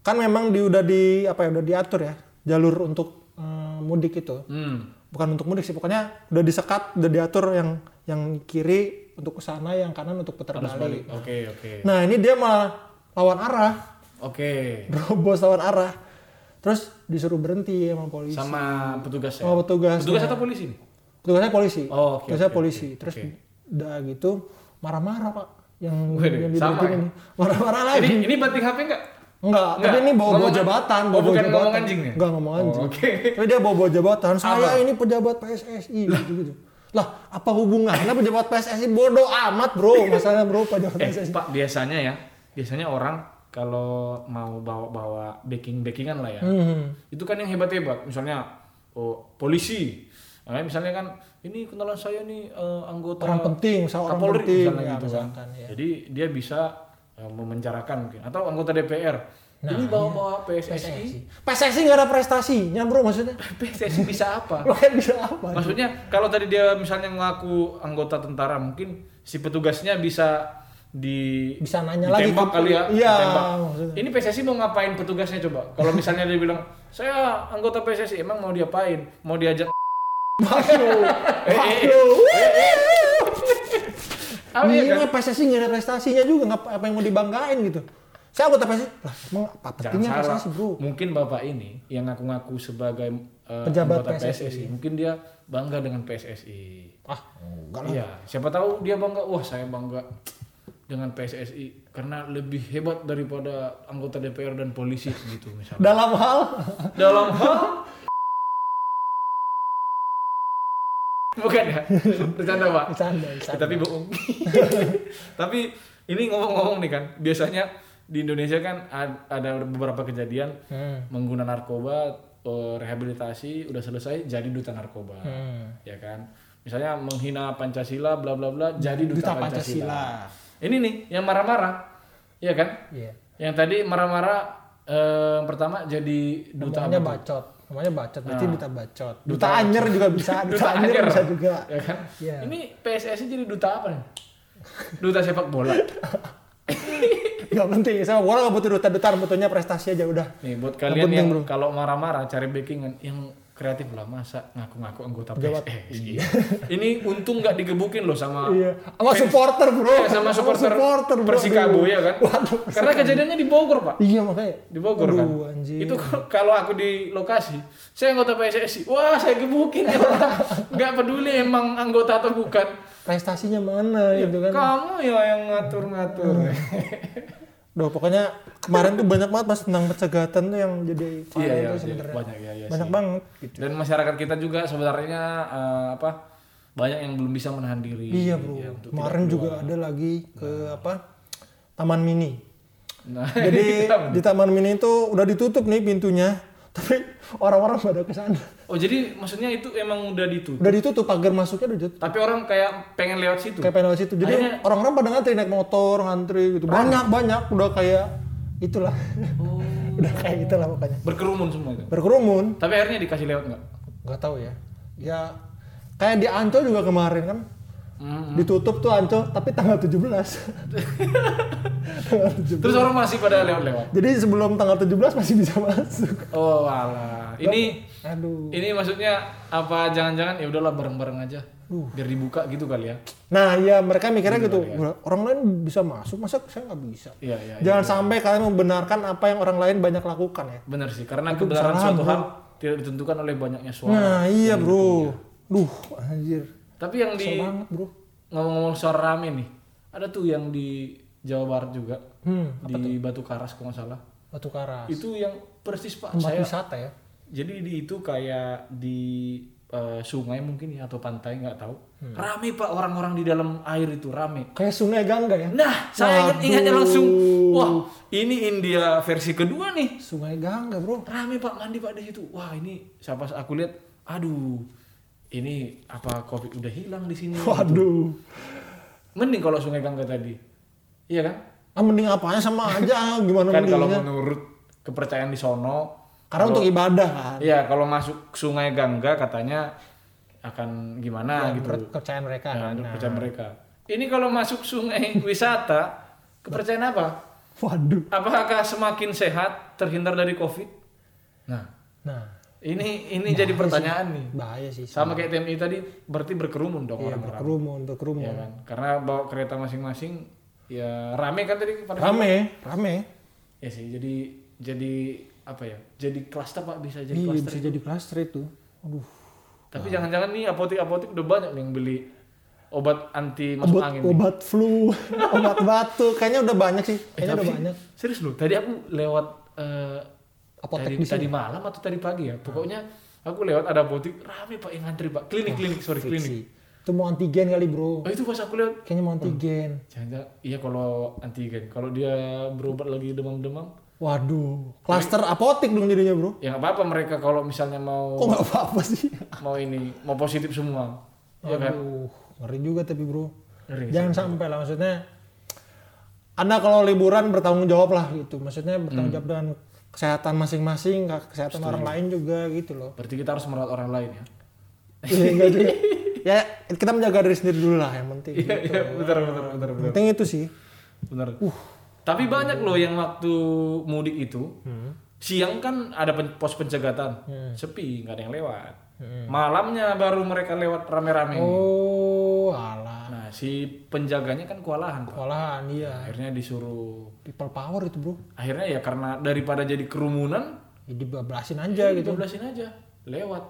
Speaker 1: kan memang di udah di apa ya udah diatur ya jalur untuk eh, mudik itu.
Speaker 2: Hmm.
Speaker 1: bukan untuk mudik sih pokoknya udah disekat udah diatur yang yang kiri untuk ke sana yang kanan untuk putar
Speaker 2: Harus
Speaker 1: balik.
Speaker 2: balik. Oke, oke.
Speaker 1: Nah ini dia malah lawan arah,
Speaker 2: Oke.
Speaker 1: robos lawan arah, terus disuruh berhenti sama polisi.
Speaker 2: Sama petugas ya.
Speaker 1: Sama Oh, petugas.
Speaker 2: Petugas atau polisi nih?
Speaker 1: Petugasnya polisi,
Speaker 2: Oh, oke,
Speaker 1: petugasnya
Speaker 2: oke,
Speaker 1: polisi,
Speaker 2: oke,
Speaker 1: terus
Speaker 2: oke.
Speaker 1: udah gitu marah-marah pak, yang
Speaker 2: Wih,
Speaker 1: yang
Speaker 2: sama
Speaker 1: diberhentiin
Speaker 2: ya?
Speaker 1: ini. marah-marah lagi.
Speaker 2: Ini ini banting HP nggak?
Speaker 1: Enggak, tapi
Speaker 2: Enggak,
Speaker 1: ini bawa bawa
Speaker 2: ngomong-
Speaker 1: jabatan,
Speaker 2: oh,
Speaker 1: bawa bawa
Speaker 2: bukan
Speaker 1: jabatan.
Speaker 2: ngomong anjing ya?
Speaker 1: Enggak ngomong
Speaker 2: Oh,
Speaker 1: anjing.
Speaker 2: oke.
Speaker 1: Tapi dia bawa bawa jabatan. Saya
Speaker 2: Apa?
Speaker 1: ini pejabat PSSI gitu gitu. Lah, apa hubungannya pejabat PSSI bodoh amat, Bro. Masalah Bro pejabat
Speaker 2: Eh,
Speaker 1: PSSI.
Speaker 2: Pak, biasanya ya. Biasanya orang kalau mau bawa-bawa backing-backingan lah ya.
Speaker 1: Hmm.
Speaker 2: itu kan yang hebat-hebat misalnya oh, polisi Nah, misalnya kan ini kenalan saya nih eh, anggota
Speaker 1: Orang penting, misalnya orang
Speaker 2: Kapolri
Speaker 1: penting,
Speaker 2: misalnya
Speaker 1: ya,
Speaker 2: gitu kan.
Speaker 1: misalkan, ya.
Speaker 2: jadi dia bisa eh, memenjarakan mungkin atau anggota DPR
Speaker 1: Nah,
Speaker 2: ini
Speaker 1: iya.
Speaker 2: bawa-bawa PSSI
Speaker 1: PSSI nggak ada prestasinya, Bro, maksudnya.
Speaker 2: PSSI bisa apa
Speaker 1: Lo kan bisa apa?
Speaker 2: maksudnya kalau tadi dia misalnya ngaku anggota tentara mungkin si petugasnya bisa di
Speaker 1: Bisa nanya lagi
Speaker 2: ditembak
Speaker 1: ke-
Speaker 2: kali ya
Speaker 1: Iya,
Speaker 2: ditembak.
Speaker 1: maksudnya.
Speaker 2: ini PSSI mau ngapain petugasnya coba kalau misalnya dia bilang saya anggota PSSI emang mau diapain mau diajak
Speaker 1: Iya, Waduh.
Speaker 2: eh,
Speaker 1: Waduh.
Speaker 2: apa ya kan
Speaker 1: Iya, PSSI nggak ada prestasinya juga, nggak apa yang mau dibanggain gitu. Saya anggota PSSI, lah emang apa
Speaker 2: jangan
Speaker 1: pentingnya
Speaker 2: salah
Speaker 1: PSSI, Bro?
Speaker 2: mungkin bapak ini yang ngaku-ngaku sebagai eh,
Speaker 1: Pejabat
Speaker 2: anggota
Speaker 1: PSSI.
Speaker 2: mungkin dia bangga dengan PSSI
Speaker 1: Ah, enggak lah.
Speaker 2: Iya, siapa tahu dia bangga. Wah, saya bangga dengan PSSI karena lebih hebat daripada anggota DPR dan polisi gitu misalnya.
Speaker 1: Dalam hal
Speaker 2: Dalam hal Bukan ya? Bercanda, Pak.
Speaker 1: bercanda, bercanda.
Speaker 2: Ya, tapi bohong. tapi ini ngomong-ngomong nih kan, biasanya di Indonesia kan ad- ada beberapa kejadian
Speaker 1: Hmm.
Speaker 2: mengguna narkoba eh, rehabilitasi udah selesai jadi duta narkoba
Speaker 1: Hmm.
Speaker 2: ya kan misalnya menghina pancasila bla bla bla jadi duta,
Speaker 1: Duta
Speaker 2: pancasila.
Speaker 1: Pancasila.
Speaker 2: ini nih yang marah-marah ya kan
Speaker 1: Iya.
Speaker 2: yang tadi marah-marah eh, pertama jadi duta
Speaker 1: Namanya
Speaker 2: apa tuh? Ah.
Speaker 1: bacot. Namanya bacot, berarti duta bacot. Duta,
Speaker 2: Duta
Speaker 1: anyer juga bisa, duta, anyer,
Speaker 2: anyer.
Speaker 1: bisa juga.
Speaker 2: ya kan
Speaker 1: Iya.
Speaker 2: ini PSSI jadi duta apa nih duta sepak bola
Speaker 1: Gak penting, saya bola gak butuh duta-duta, butuhnya prestasi aja udah.
Speaker 2: nih buat
Speaker 1: Yang
Speaker 2: kalian
Speaker 1: penting,
Speaker 2: yang
Speaker 1: bro.
Speaker 2: kalau marah-marah cari backingan yang kreatif lah masa ngaku-ngaku anggota
Speaker 1: Jawab.
Speaker 2: PSSI ini untung nggak digebukin loh sama
Speaker 1: Iya, sama supporter bro.
Speaker 2: Iya, sama supporter,
Speaker 1: bro.
Speaker 2: Persikabo
Speaker 1: Aduh.
Speaker 2: ya kan.
Speaker 1: Waduh.
Speaker 2: Karena kejadiannya di Bogor, Pak.
Speaker 1: Iya makanya.
Speaker 2: Di Bogor
Speaker 1: Aduh,
Speaker 2: kan.
Speaker 1: anjir.
Speaker 2: Itu kalau aku di lokasi, saya anggota PSSI. Wah, saya gebukin ya orang. Nggak peduli emang anggota atau bukan.
Speaker 1: Prestasinya mana gitu kan.
Speaker 2: Kamu ya yang ngatur-ngatur.
Speaker 1: Hmm. Duh, pokoknya kemarin tuh banyak banget mas tentang pencegatan tuh yang jadi viral
Speaker 2: Iya, iya,
Speaker 1: tuh
Speaker 2: iya.
Speaker 1: sebenarnya.
Speaker 2: Banyak, iya, iya
Speaker 1: Banyak
Speaker 2: sih.
Speaker 1: banget. Gitu.
Speaker 2: Dan masyarakat kita juga sebenarnya eh, apa? Banyak yang belum bisa menahan diri.
Speaker 1: Iya bro.
Speaker 2: Ya, untuk tidak-
Speaker 1: kemarin juga ada lagi ke apa? Taman mini.
Speaker 2: Nah,
Speaker 1: Jadi
Speaker 2: kita-
Speaker 1: di Taman Mini itu udah ditutup nih pintunya, tapi orang-orang pada ke sana.
Speaker 2: Oh, jadi maksudnya itu emang udah ditutup.
Speaker 1: Udah ditutup pagar masuknya udah ditutup.
Speaker 2: Tapi orang kayak pengen lewat situ.
Speaker 1: Kayak pengen lewat situ. Jadi
Speaker 2: Akhirnya- Ah.
Speaker 1: orang-orang pada ngantri naik motor, ngantri gitu. Banyak banyak udah kayak itulah.
Speaker 2: Oh.
Speaker 1: udah kayak itulah pokoknya.
Speaker 2: Berkerumun semua itu.
Speaker 1: Berkerumun,
Speaker 2: Tapi akhirnya dikasih lewat nggak?
Speaker 1: nggak tahu ya. Ya kayak di Ancol juga kemarin kan.
Speaker 2: Hmm.
Speaker 1: Ditutup tuh Anco, tapi tanggal 17. tanggal 17.
Speaker 2: Terus orang masih pada lewat-lewat.
Speaker 1: Jadi sebelum tanggal 17 masih bisa masuk.
Speaker 2: Oh alah. Ini
Speaker 1: Aduh.
Speaker 2: ini maksudnya apa jangan-jangan ya udahlah bareng-bareng aja.
Speaker 1: Uh.
Speaker 2: Biar dibuka gitu kali ya.
Speaker 1: Nah, ya mereka mikirnya gitu. Orang lain bisa masuk, masa saya nggak bisa?
Speaker 2: Iya iya. iya.
Speaker 1: Jangan sampai kalian membenarkan apa yang orang lain banyak lakukan ya.
Speaker 2: Benar sih karena kebenaran
Speaker 1: kesalahan,
Speaker 2: suatu
Speaker 1: bro.
Speaker 2: hal tidak ditentukan oleh banyaknya suara.
Speaker 1: Nah, iya, Bro. Duh, anjir.
Speaker 2: Tapi yang
Speaker 1: Kesel
Speaker 2: di
Speaker 1: banget, Bro.
Speaker 2: ngomong-ngomong suara rame nih, ada tuh yang di Jawa Barat juga
Speaker 1: Hmm,
Speaker 2: di Batu Karas kalau nggak salah.
Speaker 1: batu karas.
Speaker 2: Itu yang persis pak
Speaker 1: Tempat
Speaker 2: Iya, saya.
Speaker 1: wisata ya.
Speaker 2: Jadi di itu kayak di eh, sungai mungkin ya atau pantai nggak tahu.
Speaker 1: Hmm.
Speaker 2: Rame pak orang-orang di dalam air itu rame.
Speaker 1: Kayak Sungai Gangga ya.
Speaker 2: Nah, saya ingat
Speaker 1: Waduh.
Speaker 2: ingatnya langsung, wah ini India versi kedua nih.
Speaker 1: Sungai Gangga, Bro.
Speaker 2: Rame pak mandi pak di situ. Wah ini siapa aku lihat, aduh ini apa covid udah hilang di sini.
Speaker 1: Waduh.
Speaker 2: Mending kalau Sungai Gangga tadi. Iya kan?
Speaker 1: Ah, mending apanya sama aja gimana
Speaker 2: Kan kalau
Speaker 1: mendingnya.
Speaker 2: menurut kepercayaan di sono,
Speaker 1: Karena untuk ibadah kan.
Speaker 2: iya kalau masuk Sungai Gangga katanya akan gimana gitu.
Speaker 1: Menurut kepercayaan mereka.
Speaker 2: Nah,
Speaker 1: kan.
Speaker 2: untuk
Speaker 1: Nah.
Speaker 2: kepercayaan mereka. Ini kalau masuk sungai wisata, kepercayaan apa?
Speaker 1: Waduh.
Speaker 2: Apakah semakin sehat terhindar dari Covid? Nah,
Speaker 1: Nah,
Speaker 2: ini ini jadi pertanyaan nih.
Speaker 1: bahaya sih.
Speaker 2: Sama kayak TMI tadi, berarti berkerumun dong
Speaker 1: Iya,
Speaker 2: orang-orang.
Speaker 1: berkerumun, berkerumun.
Speaker 2: Ya kan? Karena bawa kereta masing-masing ya rame kan tadi pada
Speaker 1: Rame, rame.
Speaker 2: Ya sih, jadi jadi apa ya? Jadi klaster Pak bisa jadi
Speaker 1: Iya,
Speaker 2: Nah. klaster.
Speaker 1: bisa jadi klaster itu. Aduh.
Speaker 2: Tapi jangan-jangan nih apotek-apotek udah banyak nih yang beli obat anti masuk
Speaker 1: Obat,
Speaker 2: angin. nih.
Speaker 1: obat flu, obat batuk, kayaknya udah banyak sih.
Speaker 2: Eh,
Speaker 1: Kayaknya
Speaker 2: tapi-
Speaker 1: udah banyak.
Speaker 2: Serius loh, tadi aku lewat eh,
Speaker 1: Apotek
Speaker 2: tadi,
Speaker 1: di sini.
Speaker 2: tadi malam atau tadi pagi ya. Pokoknya aku lewat ada apotek rame Pak yang ngantri Pak. Klinik klinik sorry klinik.
Speaker 1: Fiksi. Itu mau antigen kali, Bro.
Speaker 2: Oh itu pas aku lihat
Speaker 1: Kayaknya mau antigen.
Speaker 2: jangan iya kalau antigen. Kalau dia berobat lagi demam-demam,
Speaker 1: Waduh, klaster apotek dong jadinya, Bro.
Speaker 2: ya nggak apa-apa mereka kalau misalnya
Speaker 1: Kok
Speaker 2: mau
Speaker 1: nggak apa-apa sih?
Speaker 2: mau ini, mau positif semua. Iya kan?
Speaker 1: Aduh, ngeri juga tapi, Bro.
Speaker 2: Ngeri sih.
Speaker 1: Jangan sampai lah maksudnya Anda kalau liburan bertanggung jawab lah gitu. Maksudnya
Speaker 2: Hmm.
Speaker 1: bertanggung jawab dengan kesehatan masing-masing, kesehatan orang lain juga gitu loh.
Speaker 2: Berarti kita harus merawat orang lain ya.
Speaker 1: Iya enggak juga. Ya kita menjaga diri sendiri dulu lah yang penting.
Speaker 2: Iya, iya, benar benar benar benar.
Speaker 1: Penting itu sih.
Speaker 2: Benar. Tapi banyak loh yang waktu mudik itu siang kan ada pen- pos pencegatan, sepi nggak ada yang lewat. Malamnya baru mereka lewat rame-rame.
Speaker 1: Oh, alah.
Speaker 2: Nah si penjaganya kan kewalahan pak.
Speaker 1: Olahan iya.
Speaker 2: Akhirnya disuruh.
Speaker 1: People power itu, Bro.
Speaker 2: Akhirnya ya karena daripada jadi kerumunan,
Speaker 1: Ya, dibablasin aja gitu.
Speaker 2: dibeblasin aja, lewat.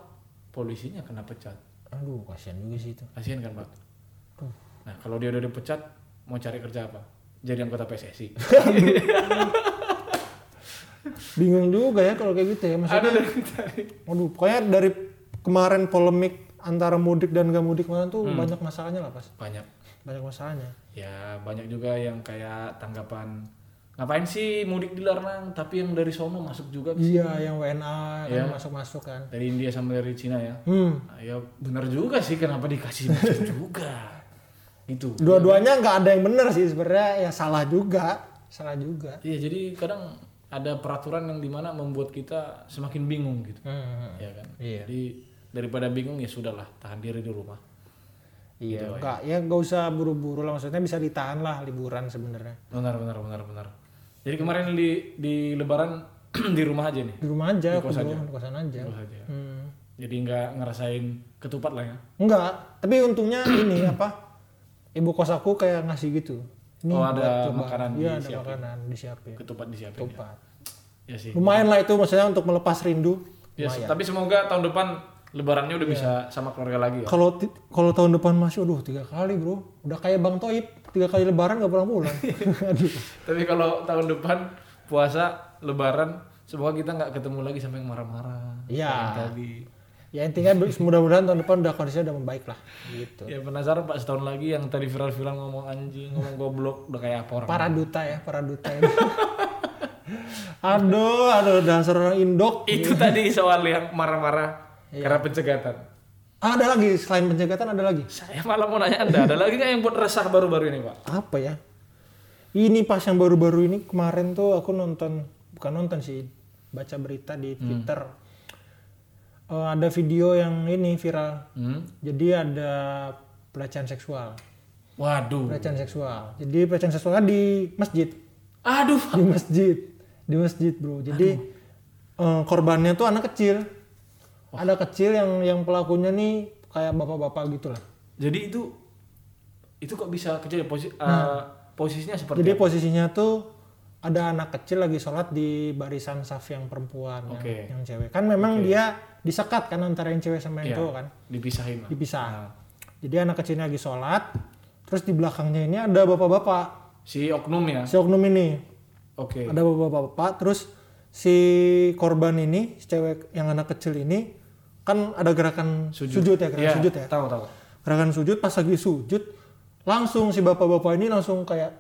Speaker 2: Polisinya kena pecat.
Speaker 1: Aduh, kasihan juga sih itu.
Speaker 2: Kasihan kan pak. Nah kalau dia udah dipecat, mau cari kerja apa? Jadi anggota PSSI.
Speaker 1: Bingung juga ya kalau kayak gitu ya. Maksudnya,
Speaker 2: Ada dari tadi.
Speaker 1: waduh, pokoknya dari kemarin polemik antara mudik dan gak mudik kemarin
Speaker 2: Hmm.
Speaker 1: tuh banyak masalahnya lah, Pas.
Speaker 2: Banyak.
Speaker 1: Banyak masalahnya.
Speaker 2: Ya banyak juga yang kayak tanggapan ngapain sih mudik dilarang tapi yang dari sono masuk juga
Speaker 1: Iya, yang WNA yang masuk-masuk kan.
Speaker 2: dari India sama dari Cina ya.
Speaker 1: Hmm.
Speaker 2: Nah, ya benar juga sih kenapa dikasih masuk juga. Gitu. Itu.
Speaker 1: Dua-duanya nggak ada yang bener sih sebenarnya ya salah juga, salah juga.
Speaker 2: Iya jadi kadang ada peraturan yang dimana membuat kita semakin bingung gitu.
Speaker 1: Hmm.
Speaker 2: Ya kan.
Speaker 1: Iya.
Speaker 2: Jadi daripada bingung ya sudahlah tahan diri di rumah.
Speaker 1: Iya, nggak ya nggak usah buru-buru lah maksudnya bisa ditahan lah liburan sebenarnya
Speaker 2: Benar benar benar benar. Jadi kemarin di di Lebaran di rumah aja nih.
Speaker 1: di rumah aja, aku di rumah, di kosan aja.
Speaker 2: Di rumah aja.
Speaker 1: Hmm.
Speaker 2: Jadi nggak ngerasain ketupat lah ya.
Speaker 1: Enggak, tapi untungnya ini apa? Ibu kos aku kayak ngasih gitu. Ini
Speaker 2: Oh,
Speaker 1: buat
Speaker 2: ada
Speaker 1: coba.
Speaker 2: makanan
Speaker 1: Iya, ada
Speaker 2: disiapin.
Speaker 1: makanan disiapin.
Speaker 2: Ketupat disiapin. ya.
Speaker 1: Ketupat.
Speaker 2: Ya sih.
Speaker 1: Lumayan lah itu maksudnya untuk melepas rindu.
Speaker 2: Ya, tapi semoga tahun depan lebarannya udah bisa sama keluarga lagi ya.
Speaker 1: Kalau ti- kalau tahun depan masih aduh tiga kali bro, udah kayak Bang Toib tiga kali lebaran gak pulang-pulang. aduh.
Speaker 2: tapi kalau tahun depan puasa lebaran semoga kita nggak ketemu lagi sama yang marah-marah.
Speaker 1: Iya.
Speaker 2: Yang tadi.
Speaker 1: Ya intinya be- mudah-mudahan tahun depan udah kondisinya udah membaik lah gitu.
Speaker 2: Ya penasaran Pak setahun lagi yang tadi viral-viral ngomong anjing, ngomong goblok udah kayak apa orang.
Speaker 1: Para duta ya, para duta ini. aduh, aduh dasar orang Indok.
Speaker 2: Itu tadi soal yang marah-marah karena pencegatan.
Speaker 1: Ah, ada lagi selain pencegatan ada lagi.
Speaker 2: Saya malah mau nanya Anda, ada lagi nggak yang buat resah baru-baru ini, Pak?
Speaker 1: apa ya ini pas yang baru-baru ini kemarin tuh aku nonton bukan nonton sih baca berita di Twitter Eh, ada video yang ini viral
Speaker 2: Hmm?
Speaker 1: jadi ada pelecehan seksual.
Speaker 2: Waduh.
Speaker 1: Pelecehan seksual. Jadi pelecehan seksualnya di masjid,
Speaker 2: Aduh.
Speaker 1: di masjid, di masjid bro. Jadi eh, korbannya tuh anak kecil.
Speaker 2: Oh.
Speaker 1: Ada kecil yang yang pelakunya nih kayak bapak-bapak gitu lah.
Speaker 2: Jadi itu itu kok bisa kejadian posisi eh, posisinya seperti
Speaker 1: Jadi posisinya tuh ada anak kecil lagi sholat di barisan saf yang perempuan yang-
Speaker 2: Oke.
Speaker 1: yang, cewek. Kan memang dia disekat kan antara yang cewek sama yang
Speaker 2: Iya.
Speaker 1: cowok kan,
Speaker 2: dipisahin lah.
Speaker 1: dipisah. Jadi anak kecilnya lagi sholat, terus di belakangnya ini ada bapak-bapak
Speaker 2: Si oknum ya.
Speaker 1: si oknum ini,
Speaker 2: Oke.
Speaker 1: ada bapak-bapak. Terus si korban ini, si cewek yang anak kecil ini kan ada gerakan sujud, ya, gerakan
Speaker 2: Iya,
Speaker 1: sujud ya.
Speaker 2: Tahu tahu.
Speaker 1: Gerakan sujud pas lagi sujud, langsung si bapak-bapak ini langsung kayak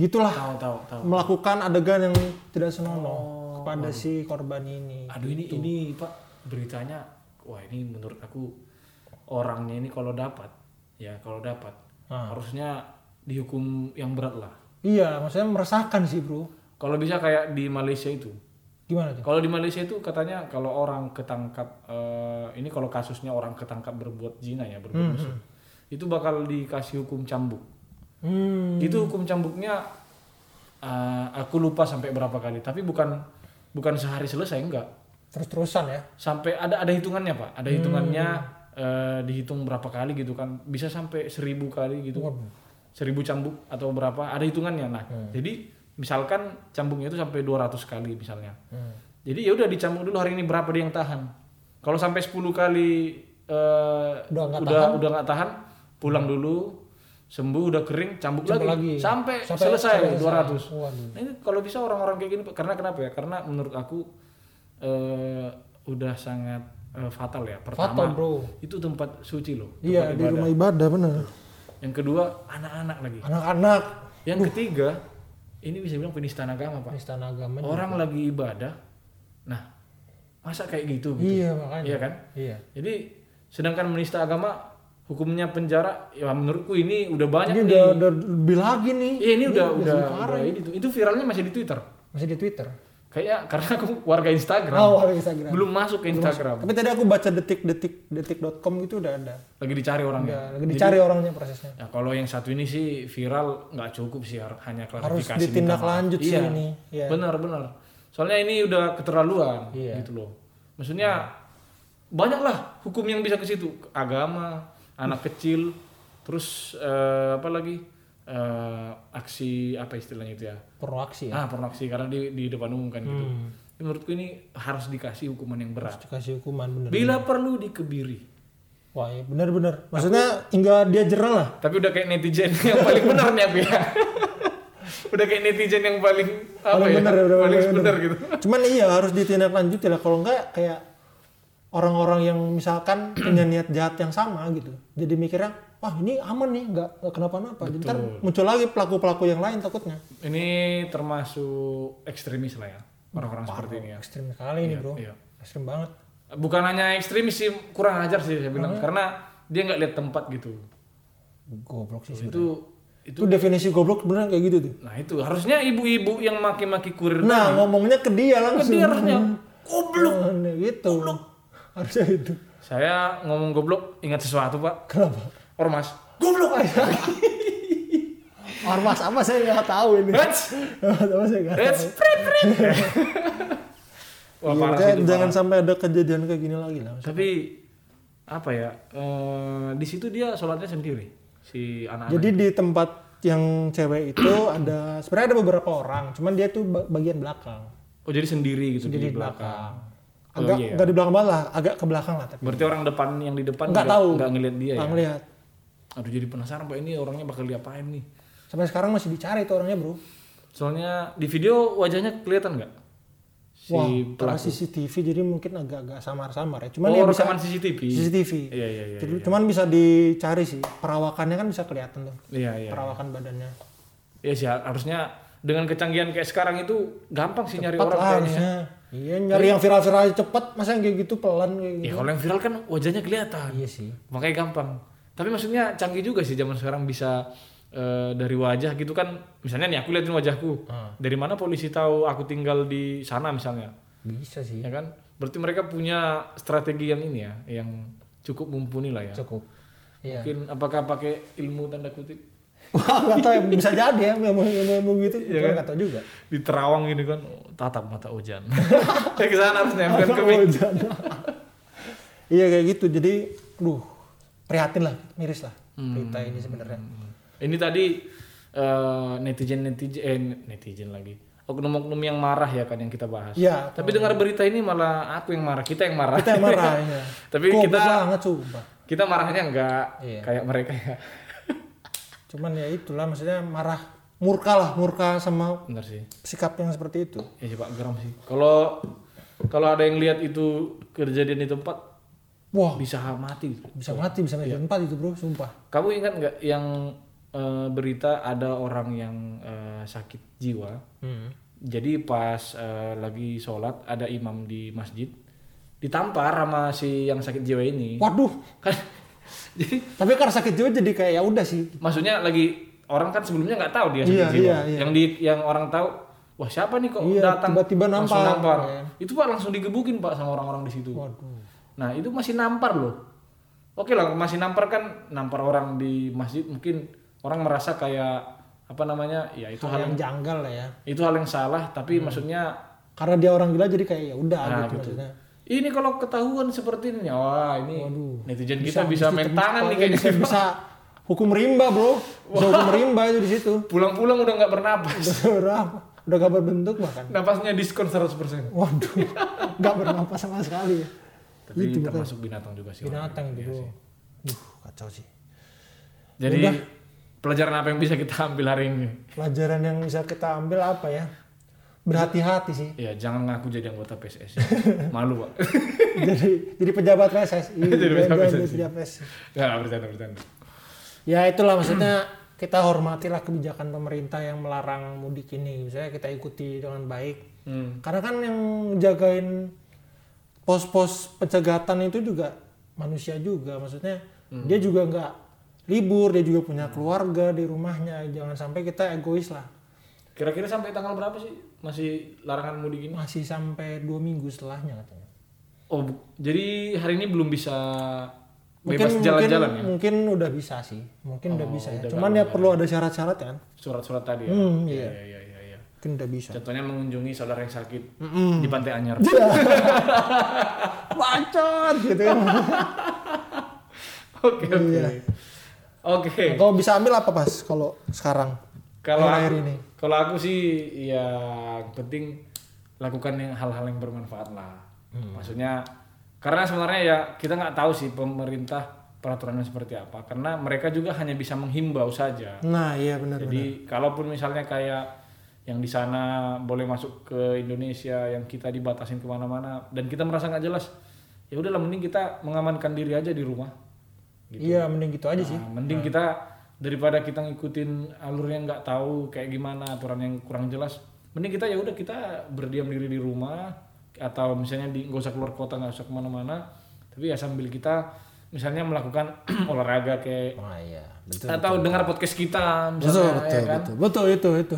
Speaker 1: gitulah
Speaker 2: Tahu tahu tahu.
Speaker 1: melakukan adegan yang tidak senonoh
Speaker 2: Oh.
Speaker 1: kepada si korban ini.
Speaker 2: Aduh ini ini Pak Gitu. beritanya wah ini menurut aku orangnya ini kalau dapat ya kalau dapat
Speaker 1: Ah.
Speaker 2: harusnya dihukum yang berat lah.
Speaker 1: Iya, maksudnya meresahkan sih, Bro.
Speaker 2: Kalau bisa kayak di Malaysia itu.
Speaker 1: Gimana tuh?
Speaker 2: Kalau di Malaysia itu katanya kalau orang ketangkap eh, ini kalau kasusnya orang ketangkap berbuat zina ya berbuat mesum, itu bakal dikasih hukum cambuk.
Speaker 1: Hmm,
Speaker 2: Itu hukum cambuknya eh, aku lupa sampai berapa kali tapi bukan bukan sehari selesai enggak
Speaker 1: terus-terusan ya.
Speaker 2: sampai ada ada hitungannya pak
Speaker 1: Hmm.
Speaker 2: ada hitungannya eh, dihitung berapa kali gitu kan bisa sampai seribu kali gitu
Speaker 1: Waduh. Hmm.
Speaker 2: seribu cambuk atau berapa ada hitungannya nah jadi misalkan cambuknya itu sampai 200 kali misalnya
Speaker 1: Hmm.
Speaker 2: jadi ya udah dicambuk dulu hari ini berapa dia yang tahan kalau sampai 10 kali eh,
Speaker 1: Udah nggak
Speaker 2: udah udah nggak tahan pulang dulu sembuh udah kering cambuk
Speaker 1: Coba
Speaker 2: lagi, Sampai, selesai 200
Speaker 1: Waduh.
Speaker 2: Nah, ini kalau bisa orang-orang kayak gini Pak. karena kenapa ya? Karena menurut aku eh, udah sangat eh, fatal ya. Pertama,
Speaker 1: Fatal, Bro.
Speaker 2: itu tempat suci loh. tempat
Speaker 1: Iya, di
Speaker 2: ibadah.
Speaker 1: rumah ibadah bener.
Speaker 2: Yang kedua, anak-anak lagi.
Speaker 1: Anak-anak
Speaker 2: Yang
Speaker 1: Uh.
Speaker 2: ketiga, ini bisa bilang penistaan agama, Pak.
Speaker 1: penistaan agama.
Speaker 2: Orang lagi ibadah. Nah, masa kayak gitu? gitu?
Speaker 1: Iya, makanya.
Speaker 2: Iya kan?
Speaker 1: Iya.
Speaker 2: Jadi, sedangkan menista agama hukumnya penjara, ya menurutku ini udah banyak
Speaker 1: Ini
Speaker 2: nih.
Speaker 1: udah, udah lebih lagi nih.
Speaker 2: Iya, ini udah udah,
Speaker 1: lebih parah.
Speaker 2: udah ini tuh. Itu viralnya masih di Twitter.
Speaker 1: Masih di Twitter.
Speaker 2: Kayaknya karena aku warga Instagram.
Speaker 1: Oh, warga Instagram.
Speaker 2: Belum masuk ke Instagram.
Speaker 1: Tapi tadi aku baca detik-detik detik.com gitu udah ada.
Speaker 2: Lagi dicari orangnya.
Speaker 1: Udah, lagi dicari orangnya prosesnya.
Speaker 2: Ya, kalau yang satu ini sih viral nggak cukup sih har- hanya
Speaker 1: Harus
Speaker 2: klarifikasi.
Speaker 1: ditindak
Speaker 2: minta maaf.
Speaker 1: lanjut sih
Speaker 2: Iya.
Speaker 1: ini. Iya.
Speaker 2: Benar, benar. Soalnya ini udah keterlaluan
Speaker 1: Iya.
Speaker 2: gitu loh. Maksudnya banyaklah hukum yang bisa ke situ. Agama,
Speaker 1: Hmm.
Speaker 2: anak kecil, terus eh, apa lagi? Eh, aksi apa istilahnya itu ya?
Speaker 1: Perlu aksi ya.
Speaker 2: Ah, pornoksi karena di di depan umum kan gitu.
Speaker 1: Hmm.
Speaker 2: Ya, Menurutku ini harus dikasih hukuman yang berat.
Speaker 1: Dikasih hukuman bener.
Speaker 2: Bila perlu dikebiri.
Speaker 1: Wah, iya benar-benar. Maksudnya hingga dia jerah lah.
Speaker 2: Tapi udah kayak netizen yang paling benar nih aku ya. udah kayak netizen yang paling apa
Speaker 1: Paling
Speaker 2: ya?
Speaker 1: benar, udah
Speaker 2: paling
Speaker 1: paling
Speaker 2: benar gitu.
Speaker 1: Cuman iya harus ditindaklanjuti lah. Kalau enggak kayak orang-orang yang misalkan punya niat jahat yang sama gitu. Jadi mikirnya, wah ini aman nih, nggak nggak kenapa-napa. Jadi ntar muncul lagi pelaku-pelaku yang lain takutnya.
Speaker 2: Ini termasuk ekstremis lah ya orang-orang seperti ini ya.
Speaker 1: Ekstrim sekali ini bro,
Speaker 2: iya.
Speaker 1: ekstrim banget.
Speaker 2: Bukan hanya ekstremis sih kurang ajar sih saya bilang karena dia nggak lihat tempat gitu.
Speaker 1: Goblok sih. sebenarnya.
Speaker 2: Itu
Speaker 1: Itu
Speaker 2: itu
Speaker 1: definisi goblok beneran kayak gitu tuh.
Speaker 2: nah itu harusnya ibu-ibu yang maki-maki kurir
Speaker 1: Nah ngomongnya ke dia
Speaker 2: kan
Speaker 1: langsung.
Speaker 2: dia harusnya goblok.
Speaker 1: Nah, gitu. Harusnya itu.
Speaker 2: Saya ngomong goblok ingat sesuatu, Pak.
Speaker 1: Kenapa?
Speaker 2: Ormas. Goblok aja.
Speaker 1: Ormas apa saya nggak tahu ini.
Speaker 2: Reds.
Speaker 1: Ormas apa saya nggak
Speaker 2: Reds.
Speaker 1: tahu.
Speaker 2: Prit, prit. Wah,
Speaker 1: Iya,
Speaker 2: parah sih
Speaker 1: makanya
Speaker 2: itu,
Speaker 1: jangan
Speaker 2: parah.
Speaker 1: sampai ada kejadian kayak gini lagi lah.
Speaker 2: Tapi apa ya? eh, di situ dia sholatnya sendiri si anak-anak.
Speaker 1: Jadi di tempat yang cewek itu ada sebenarnya ada beberapa orang, cuman dia tuh ba- bagian belakang,
Speaker 2: Oh, jadi sendiri gitu
Speaker 1: jadi
Speaker 2: di belakang.
Speaker 1: Agak
Speaker 2: iya.
Speaker 1: nggak di belakang banget lah, agak ke belakang lah tapi.
Speaker 2: Berarti orang depan yang di depan
Speaker 1: Nggak tahu.
Speaker 2: nggak ngelihat dia ya.
Speaker 1: Nggak ngeliat.
Speaker 2: Aduh, jadi penasaran Pak ini orangnya bakal diapain nih.
Speaker 1: Sampai sekarang masih dicari tuh orangnya bro.
Speaker 2: Soalnya di video wajahnya kelihatan nggak? Si
Speaker 1: Wah, karena
Speaker 2: pelaku.
Speaker 1: CCTV jadi mungkin agak-agak samar-samar ya. Cuman
Speaker 2: Oh,
Speaker 1: ya bisa
Speaker 2: rekaman CCTV.
Speaker 1: CCTV.
Speaker 2: Iya, iya, iya.
Speaker 1: Jadi- Cuman bisa dicari sih. Perawakannya kan bisa kelihatan tuh.
Speaker 2: Iya, iya.
Speaker 1: Perawakan badannya.
Speaker 2: Iya sih harusnya dengan kecanggihan kayak sekarang itu gampang sih nyari
Speaker 1: Cepat
Speaker 2: orang
Speaker 1: lah
Speaker 2: kayaknya.
Speaker 1: harusnya. Iya, nyari yang viral-viral aja cepet, masa yang kayak gitu pelan kayak gitu.
Speaker 2: Ya kalau yang viral kan wajahnya kelihatan.
Speaker 1: Iya sih.
Speaker 2: Makanya gampang. Tapi maksudnya canggih juga sih zaman sekarang bisa eh, dari wajah gitu kan. Misalnya nih aku liatin wajahku.
Speaker 1: Hmm.
Speaker 2: Dari mana polisi tahu aku tinggal di sana misalnya?
Speaker 1: Bisa sih.
Speaker 2: Ya kan? Berarti mereka punya strategi yang ini ya, yang cukup mumpuni lah ya.
Speaker 1: Cukup. Iya.
Speaker 2: Mungkin apakah pakai ilmu tanda kutip
Speaker 1: Wah, nggak tahu ya. Bisa jadi ya, ilmu ilmu, ilmu gitu. Cuma
Speaker 2: Iya kan?
Speaker 1: nggak tahu juga.
Speaker 2: di terawang gini kan oh, tatap mata Ojan. Kayak ke sana harus nempel
Speaker 1: Masa
Speaker 2: ke mi-
Speaker 1: hujan. iya kayak gitu. Jadi, duh, prihatin lah, miris lah berita ini sebenarnya.
Speaker 2: Ini tadi netizen netizen eh netizen lagi. Oknum-oknum yang marah ya kan yang kita bahas.
Speaker 1: Iya,
Speaker 2: Tapi dengar berita ini malah aku yang marah, kita yang marah.
Speaker 1: Kita yang marah ya.
Speaker 2: Tapi
Speaker 1: Goblok
Speaker 2: kita-
Speaker 1: banget sumpah.
Speaker 2: kita marahnya enggak
Speaker 1: Iya.
Speaker 2: kayak mereka ya.
Speaker 1: Cuman ya itulah maksudnya marah murka lah, murka sama
Speaker 2: Bener sih.
Speaker 1: sikap yang seperti itu.
Speaker 2: Ya coba geram sih. Kalau kalau ada yang lihat itu kejadian di tempat
Speaker 1: Wah,
Speaker 2: bisa mati.
Speaker 1: bisa mati, bisa mati tempat itu, Bro, sumpah.
Speaker 2: Kamu ingat nggak yang eh, berita ada orang yang eh, sakit jiwa?
Speaker 1: Hmm.
Speaker 2: Jadi pas eh, lagi sholat ada imam di masjid ditampar sama si yang sakit jiwa ini.
Speaker 1: Waduh,
Speaker 2: Kan jadi
Speaker 1: tapi karena sakit jiwa jadi kayak ya udah sih.
Speaker 2: maksudnya lagi orang kan sebelumnya nggak tahu dia sakit
Speaker 1: Iya,
Speaker 2: jiwa.
Speaker 1: iya, iya.
Speaker 2: Yang di yang orang tahu wah siapa nih kok
Speaker 1: Iya,
Speaker 2: datang
Speaker 1: tiba-tiba
Speaker 2: langsung
Speaker 1: nampar.
Speaker 2: nampar.
Speaker 1: Iya.
Speaker 2: Itu Pak langsung digebukin Pak sama orang-orang di situ.
Speaker 1: Waduh.
Speaker 2: Nah, itu masih nampar loh. Oke lah, masih nampar kan nampar orang di masjid mungkin orang merasa kayak apa namanya? Ya itu
Speaker 1: Hal
Speaker 2: hal
Speaker 1: yang janggal lah ya.
Speaker 2: itu hal yang salah, tapi
Speaker 1: Hmm.
Speaker 2: maksudnya
Speaker 1: Karena dia orang gila jadi kayak ya udah
Speaker 2: Nah,
Speaker 1: gitu,
Speaker 2: gitu.
Speaker 1: maksudnya.
Speaker 2: ini kalau ketahuan seperti ini, wah ini
Speaker 1: Waduh.
Speaker 2: netizen kita bisa main tangan nih
Speaker 1: bisa,
Speaker 2: kayaknya.
Speaker 1: bisa hukum rimba, Bro. Bisa hukum rimba itu di situ.
Speaker 2: Pulang-pulang udah nggak bernapas.
Speaker 1: Udah udah gak berbentuk bahkan.
Speaker 2: Napasnya diskon 100%.
Speaker 1: Waduh, nggak bernapas sama sekali. ya.
Speaker 2: Tapi termasuk binatang juga sih. orang.
Speaker 1: Binatang itu, bro. Duh, kacau sih.
Speaker 2: Jadi pelajaran apa yang bisa kita ambil hari ini?
Speaker 1: Pelajaran yang bisa kita ambil apa ya? Berhati-hati sih.
Speaker 2: Ya jangan ngaku jadi anggota PSSI. Malu, Pak.
Speaker 1: jadi jadi pejabat PSSI.
Speaker 2: Jadi
Speaker 1: Jangan-
Speaker 2: pejabat
Speaker 1: jangan jadi
Speaker 2: PSSI.
Speaker 1: pejabat PSSI.
Speaker 2: Nggak, nggak, bercanda, bercanda.
Speaker 1: Ya itulah maksudnya kita hormatilah kebijakan pemerintah yang melarang mudik ini. Misalnya kita ikuti dengan baik.
Speaker 2: Hmm.
Speaker 1: Karena kan yang jagain pos-pos pencegatan itu juga manusia juga, maksudnya
Speaker 2: Hmm.
Speaker 1: dia juga nggak libur, dia juga punya keluarga di rumahnya, jangan sampai kita egois lah.
Speaker 2: Kira-kira sampai tanggal berapa sih masih larangan mudik ini?
Speaker 1: Masih sampai dua minggu setelahnya katanya.
Speaker 2: Oh, bu- jadi hari ini belum bisa
Speaker 1: Mungkin
Speaker 2: bebas jalan-jalan ya?
Speaker 1: mungkin, mungkin udah bisa sih, mungkin udah
Speaker 2: Oh,
Speaker 1: bisa. Ya.
Speaker 2: udah
Speaker 1: Cuman ya perlu ada syarat-syarat ya kan,
Speaker 2: Surat-surat tadi ya?
Speaker 1: Hmm,
Speaker 2: Iya,
Speaker 1: iya.
Speaker 2: iya, iya, iya, iya.
Speaker 1: mungkin udah bisa.
Speaker 2: Contohnya mengunjungi saudara yang sakit
Speaker 1: Hmm.
Speaker 2: di Pantai Anyar.
Speaker 1: Iya. Bacot gitu kan.
Speaker 2: Oke, oke.
Speaker 1: Iya.
Speaker 2: Oke.
Speaker 1: Kalau bisa ambil apa pas kalau sekarang?
Speaker 2: Kalau
Speaker 1: akhir
Speaker 2: aku-
Speaker 1: ini.
Speaker 2: Kalau aku sih ya yang penting lakukan yang hal-hal yang bermanfaat lah.
Speaker 1: Hmm.
Speaker 2: Maksudnya karena sebenarnya ya kita nggak tahu sih pemerintah peraturannya seperti apa karena mereka juga hanya bisa menghimbau saja.
Speaker 1: Nah iya benar-benar.
Speaker 2: Jadi kalaupun misalnya kayak yang di sana boleh masuk ke Indonesia, yang kita dibatasin kemana-mana, dan kita merasa nggak jelas, ya udahlah mending kita mengamankan diri aja di rumah.
Speaker 1: Iya mending gitu aja sih.
Speaker 2: Nah, mending kita daripada kita ngikutin alur yang nggak tahu kayak gimana aturan yang kurang jelas, mending kita ya udah kita berdiam diri di rumah atau misalnya di nggak usah keluar kota nggak usah kemana-mana, tapi ya sambil kita misalnya melakukan olahraga kayak
Speaker 1: Wah iya betul.
Speaker 2: atau dengar podcast kita misalnya
Speaker 1: Betul,
Speaker 2: ya
Speaker 1: betul,
Speaker 2: kan?
Speaker 1: betul, betul, itu, itu.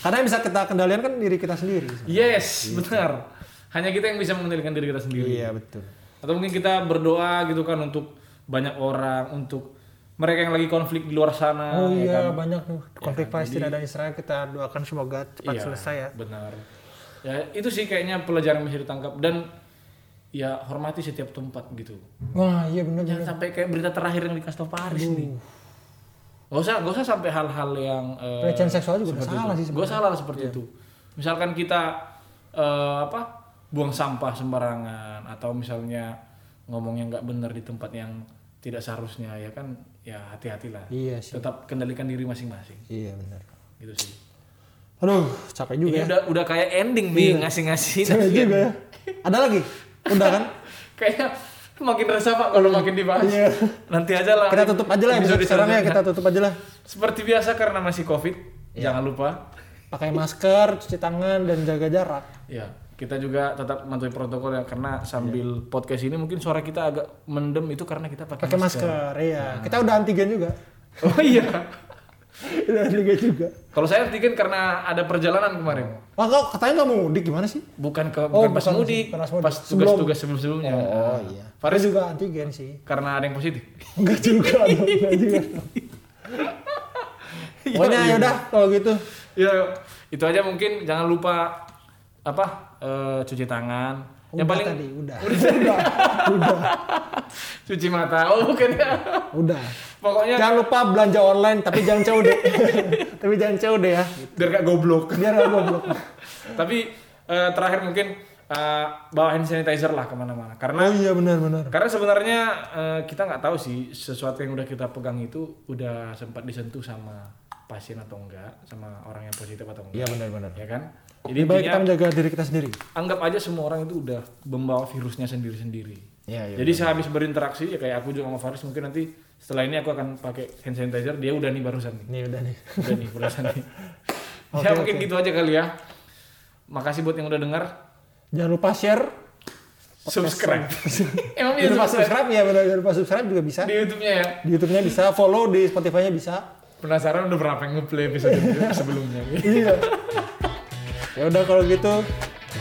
Speaker 1: Karena yang bisa kita kendalikan kan diri kita sendiri.
Speaker 2: Yes, benar. Hanya kita yang bisa mengendalikan diri kita sendiri.
Speaker 1: Iya, betul.
Speaker 2: Atau mungkin kita berdoa gitu kan untuk banyak orang, untuk mereka yang lagi konflik di luar sana.
Speaker 1: Oh
Speaker 2: ya
Speaker 1: iya,
Speaker 2: kan?
Speaker 1: banyak tuh konflik Palestina dan Israel kita doakan semoga cepat
Speaker 2: Iya,
Speaker 1: selesai ya.
Speaker 2: Benar. Ya itu sih kayaknya pelajaran yang bisa ditangkap dan ya hormati setiap tempat gitu.
Speaker 1: Wah, iya benar benar.
Speaker 2: Jangan sampai kayak berita terakhir yang dikasih tau Paris nih.
Speaker 1: Uh.
Speaker 2: Gak usah, gak usah sampai hal-hal yang eh,
Speaker 1: Pelecehan seksual juga udah
Speaker 2: seperti
Speaker 1: salah
Speaker 2: itu.
Speaker 1: sih
Speaker 2: Gua salah lah seperti
Speaker 1: Iya.
Speaker 2: itu. Misalkan kita eh, apa buang sampah sembarangan atau misalnya ngomong yang nggak benar di tempat yang tidak seharusnya ya kan ya hati-hatilah.
Speaker 1: Iya sih.
Speaker 2: Tetap kendalikan diri masing-masing.
Speaker 1: Iya benar.
Speaker 2: Gitu sih.
Speaker 1: Aduh, capek juga
Speaker 2: Ini
Speaker 1: ya.
Speaker 2: udah udah kayak ending nih
Speaker 1: Iya.
Speaker 2: ngasih-ngasih.
Speaker 1: Capek juga ya. Ada lagi? Udah kan?
Speaker 2: Kayaknya makin resah Pak kalau makin dibahas.
Speaker 1: Iya.
Speaker 2: Nanti aja lah.
Speaker 1: Kita tutup aja lah episode sekarang ya,
Speaker 2: selanjutnya.
Speaker 1: kita tutup aja lah.
Speaker 2: Seperti biasa karena masih Covid, jangan lupa
Speaker 1: Pakai masker, cuci tangan dan jaga jarak.
Speaker 2: Ya, kita juga tetap mematuhi protokol ya karena sambil podcast ini mungkin suara kita agak mendem itu karena kita pakai
Speaker 1: Pakai
Speaker 2: masker.
Speaker 1: masker, iya. Kita udah antigen juga.
Speaker 2: Oh iya.
Speaker 1: Dari Liga juga.
Speaker 2: Kalau saya Antigen karena ada perjalanan kemarin.
Speaker 1: Wah, kau katanya nggak mau mudik gimana sih?
Speaker 2: Bukan ke
Speaker 1: Oh,
Speaker 2: bukan pas
Speaker 1: bukan
Speaker 2: mudik,
Speaker 1: pas mudik. Oh.
Speaker 2: pas tugas-tugas sebelum-sebelumnya.
Speaker 1: Faris
Speaker 2: Faris
Speaker 1: juga antigen sih.
Speaker 2: karena ada yang positif.
Speaker 1: Enggak juga, dong, enggak juga. Pokoknya ya udah kalau gitu.
Speaker 2: Ya, itu aja mungkin jangan lupa apa? eh, cuci tangan.
Speaker 1: Udah
Speaker 2: yang paling
Speaker 1: tadi, udah. Udah. udah.
Speaker 2: cuci mata. Oh, bukan ya.
Speaker 1: Udah.
Speaker 2: Pokoknya
Speaker 1: Jangan lupa belanja online tapi jangan COD. tapi jangan COD ya.
Speaker 2: biar gak goblok.
Speaker 1: Biar gak goblok.
Speaker 2: Tapi eh, terakhir mungkin eh, bawa hand sanitizer lah kemana-mana. Karena
Speaker 1: Oh iya benar benar.
Speaker 2: Karena sebenarnya eh, kita nggak tahu sih sesuatu yang udah kita pegang itu udah sempat disentuh sama pasien atau enggak, sama orang yang positif atau
Speaker 1: Iya
Speaker 2: enggak,
Speaker 1: benar benar.
Speaker 2: ya kan? Jadi
Speaker 1: Lebih baik
Speaker 2: intinya,
Speaker 1: kita menjaga diri kita sendiri.
Speaker 2: anggap aja semua orang itu udah membawa virusnya sendiri-sendiri.
Speaker 1: Iya
Speaker 2: Jadi sehabis berinteraksi ya kayak aku juga sama Faris mungkin nanti setelah ini aku akan pakai hand sanitizer dia udah nih barusan nih.
Speaker 1: Nih udah nih.
Speaker 2: Udah nih barusan nih.
Speaker 1: Oke,
Speaker 2: ya mungkin gitu aja kali ya. Makasih buat yang udah dengar.
Speaker 1: Jangan lupa share.
Speaker 2: Subscribe. Emang bisa
Speaker 1: Jangan lupa
Speaker 2: subscribe
Speaker 1: subscribe ya benar. Jangan lupa subscribe juga bisa.
Speaker 2: di YouTube-nya ya?
Speaker 1: Di YouTube-nya bisa, follow di Spotify-nya bisa.
Speaker 2: Penasaran udah berapa yang ngeplay episode sebelumnya?
Speaker 1: Iya. ya udah kalau gitu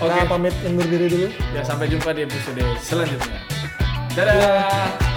Speaker 1: kita
Speaker 2: Oke.
Speaker 1: pamit undur diri dulu.
Speaker 2: ya sampai jumpa di episode selanjutnya. Dadah.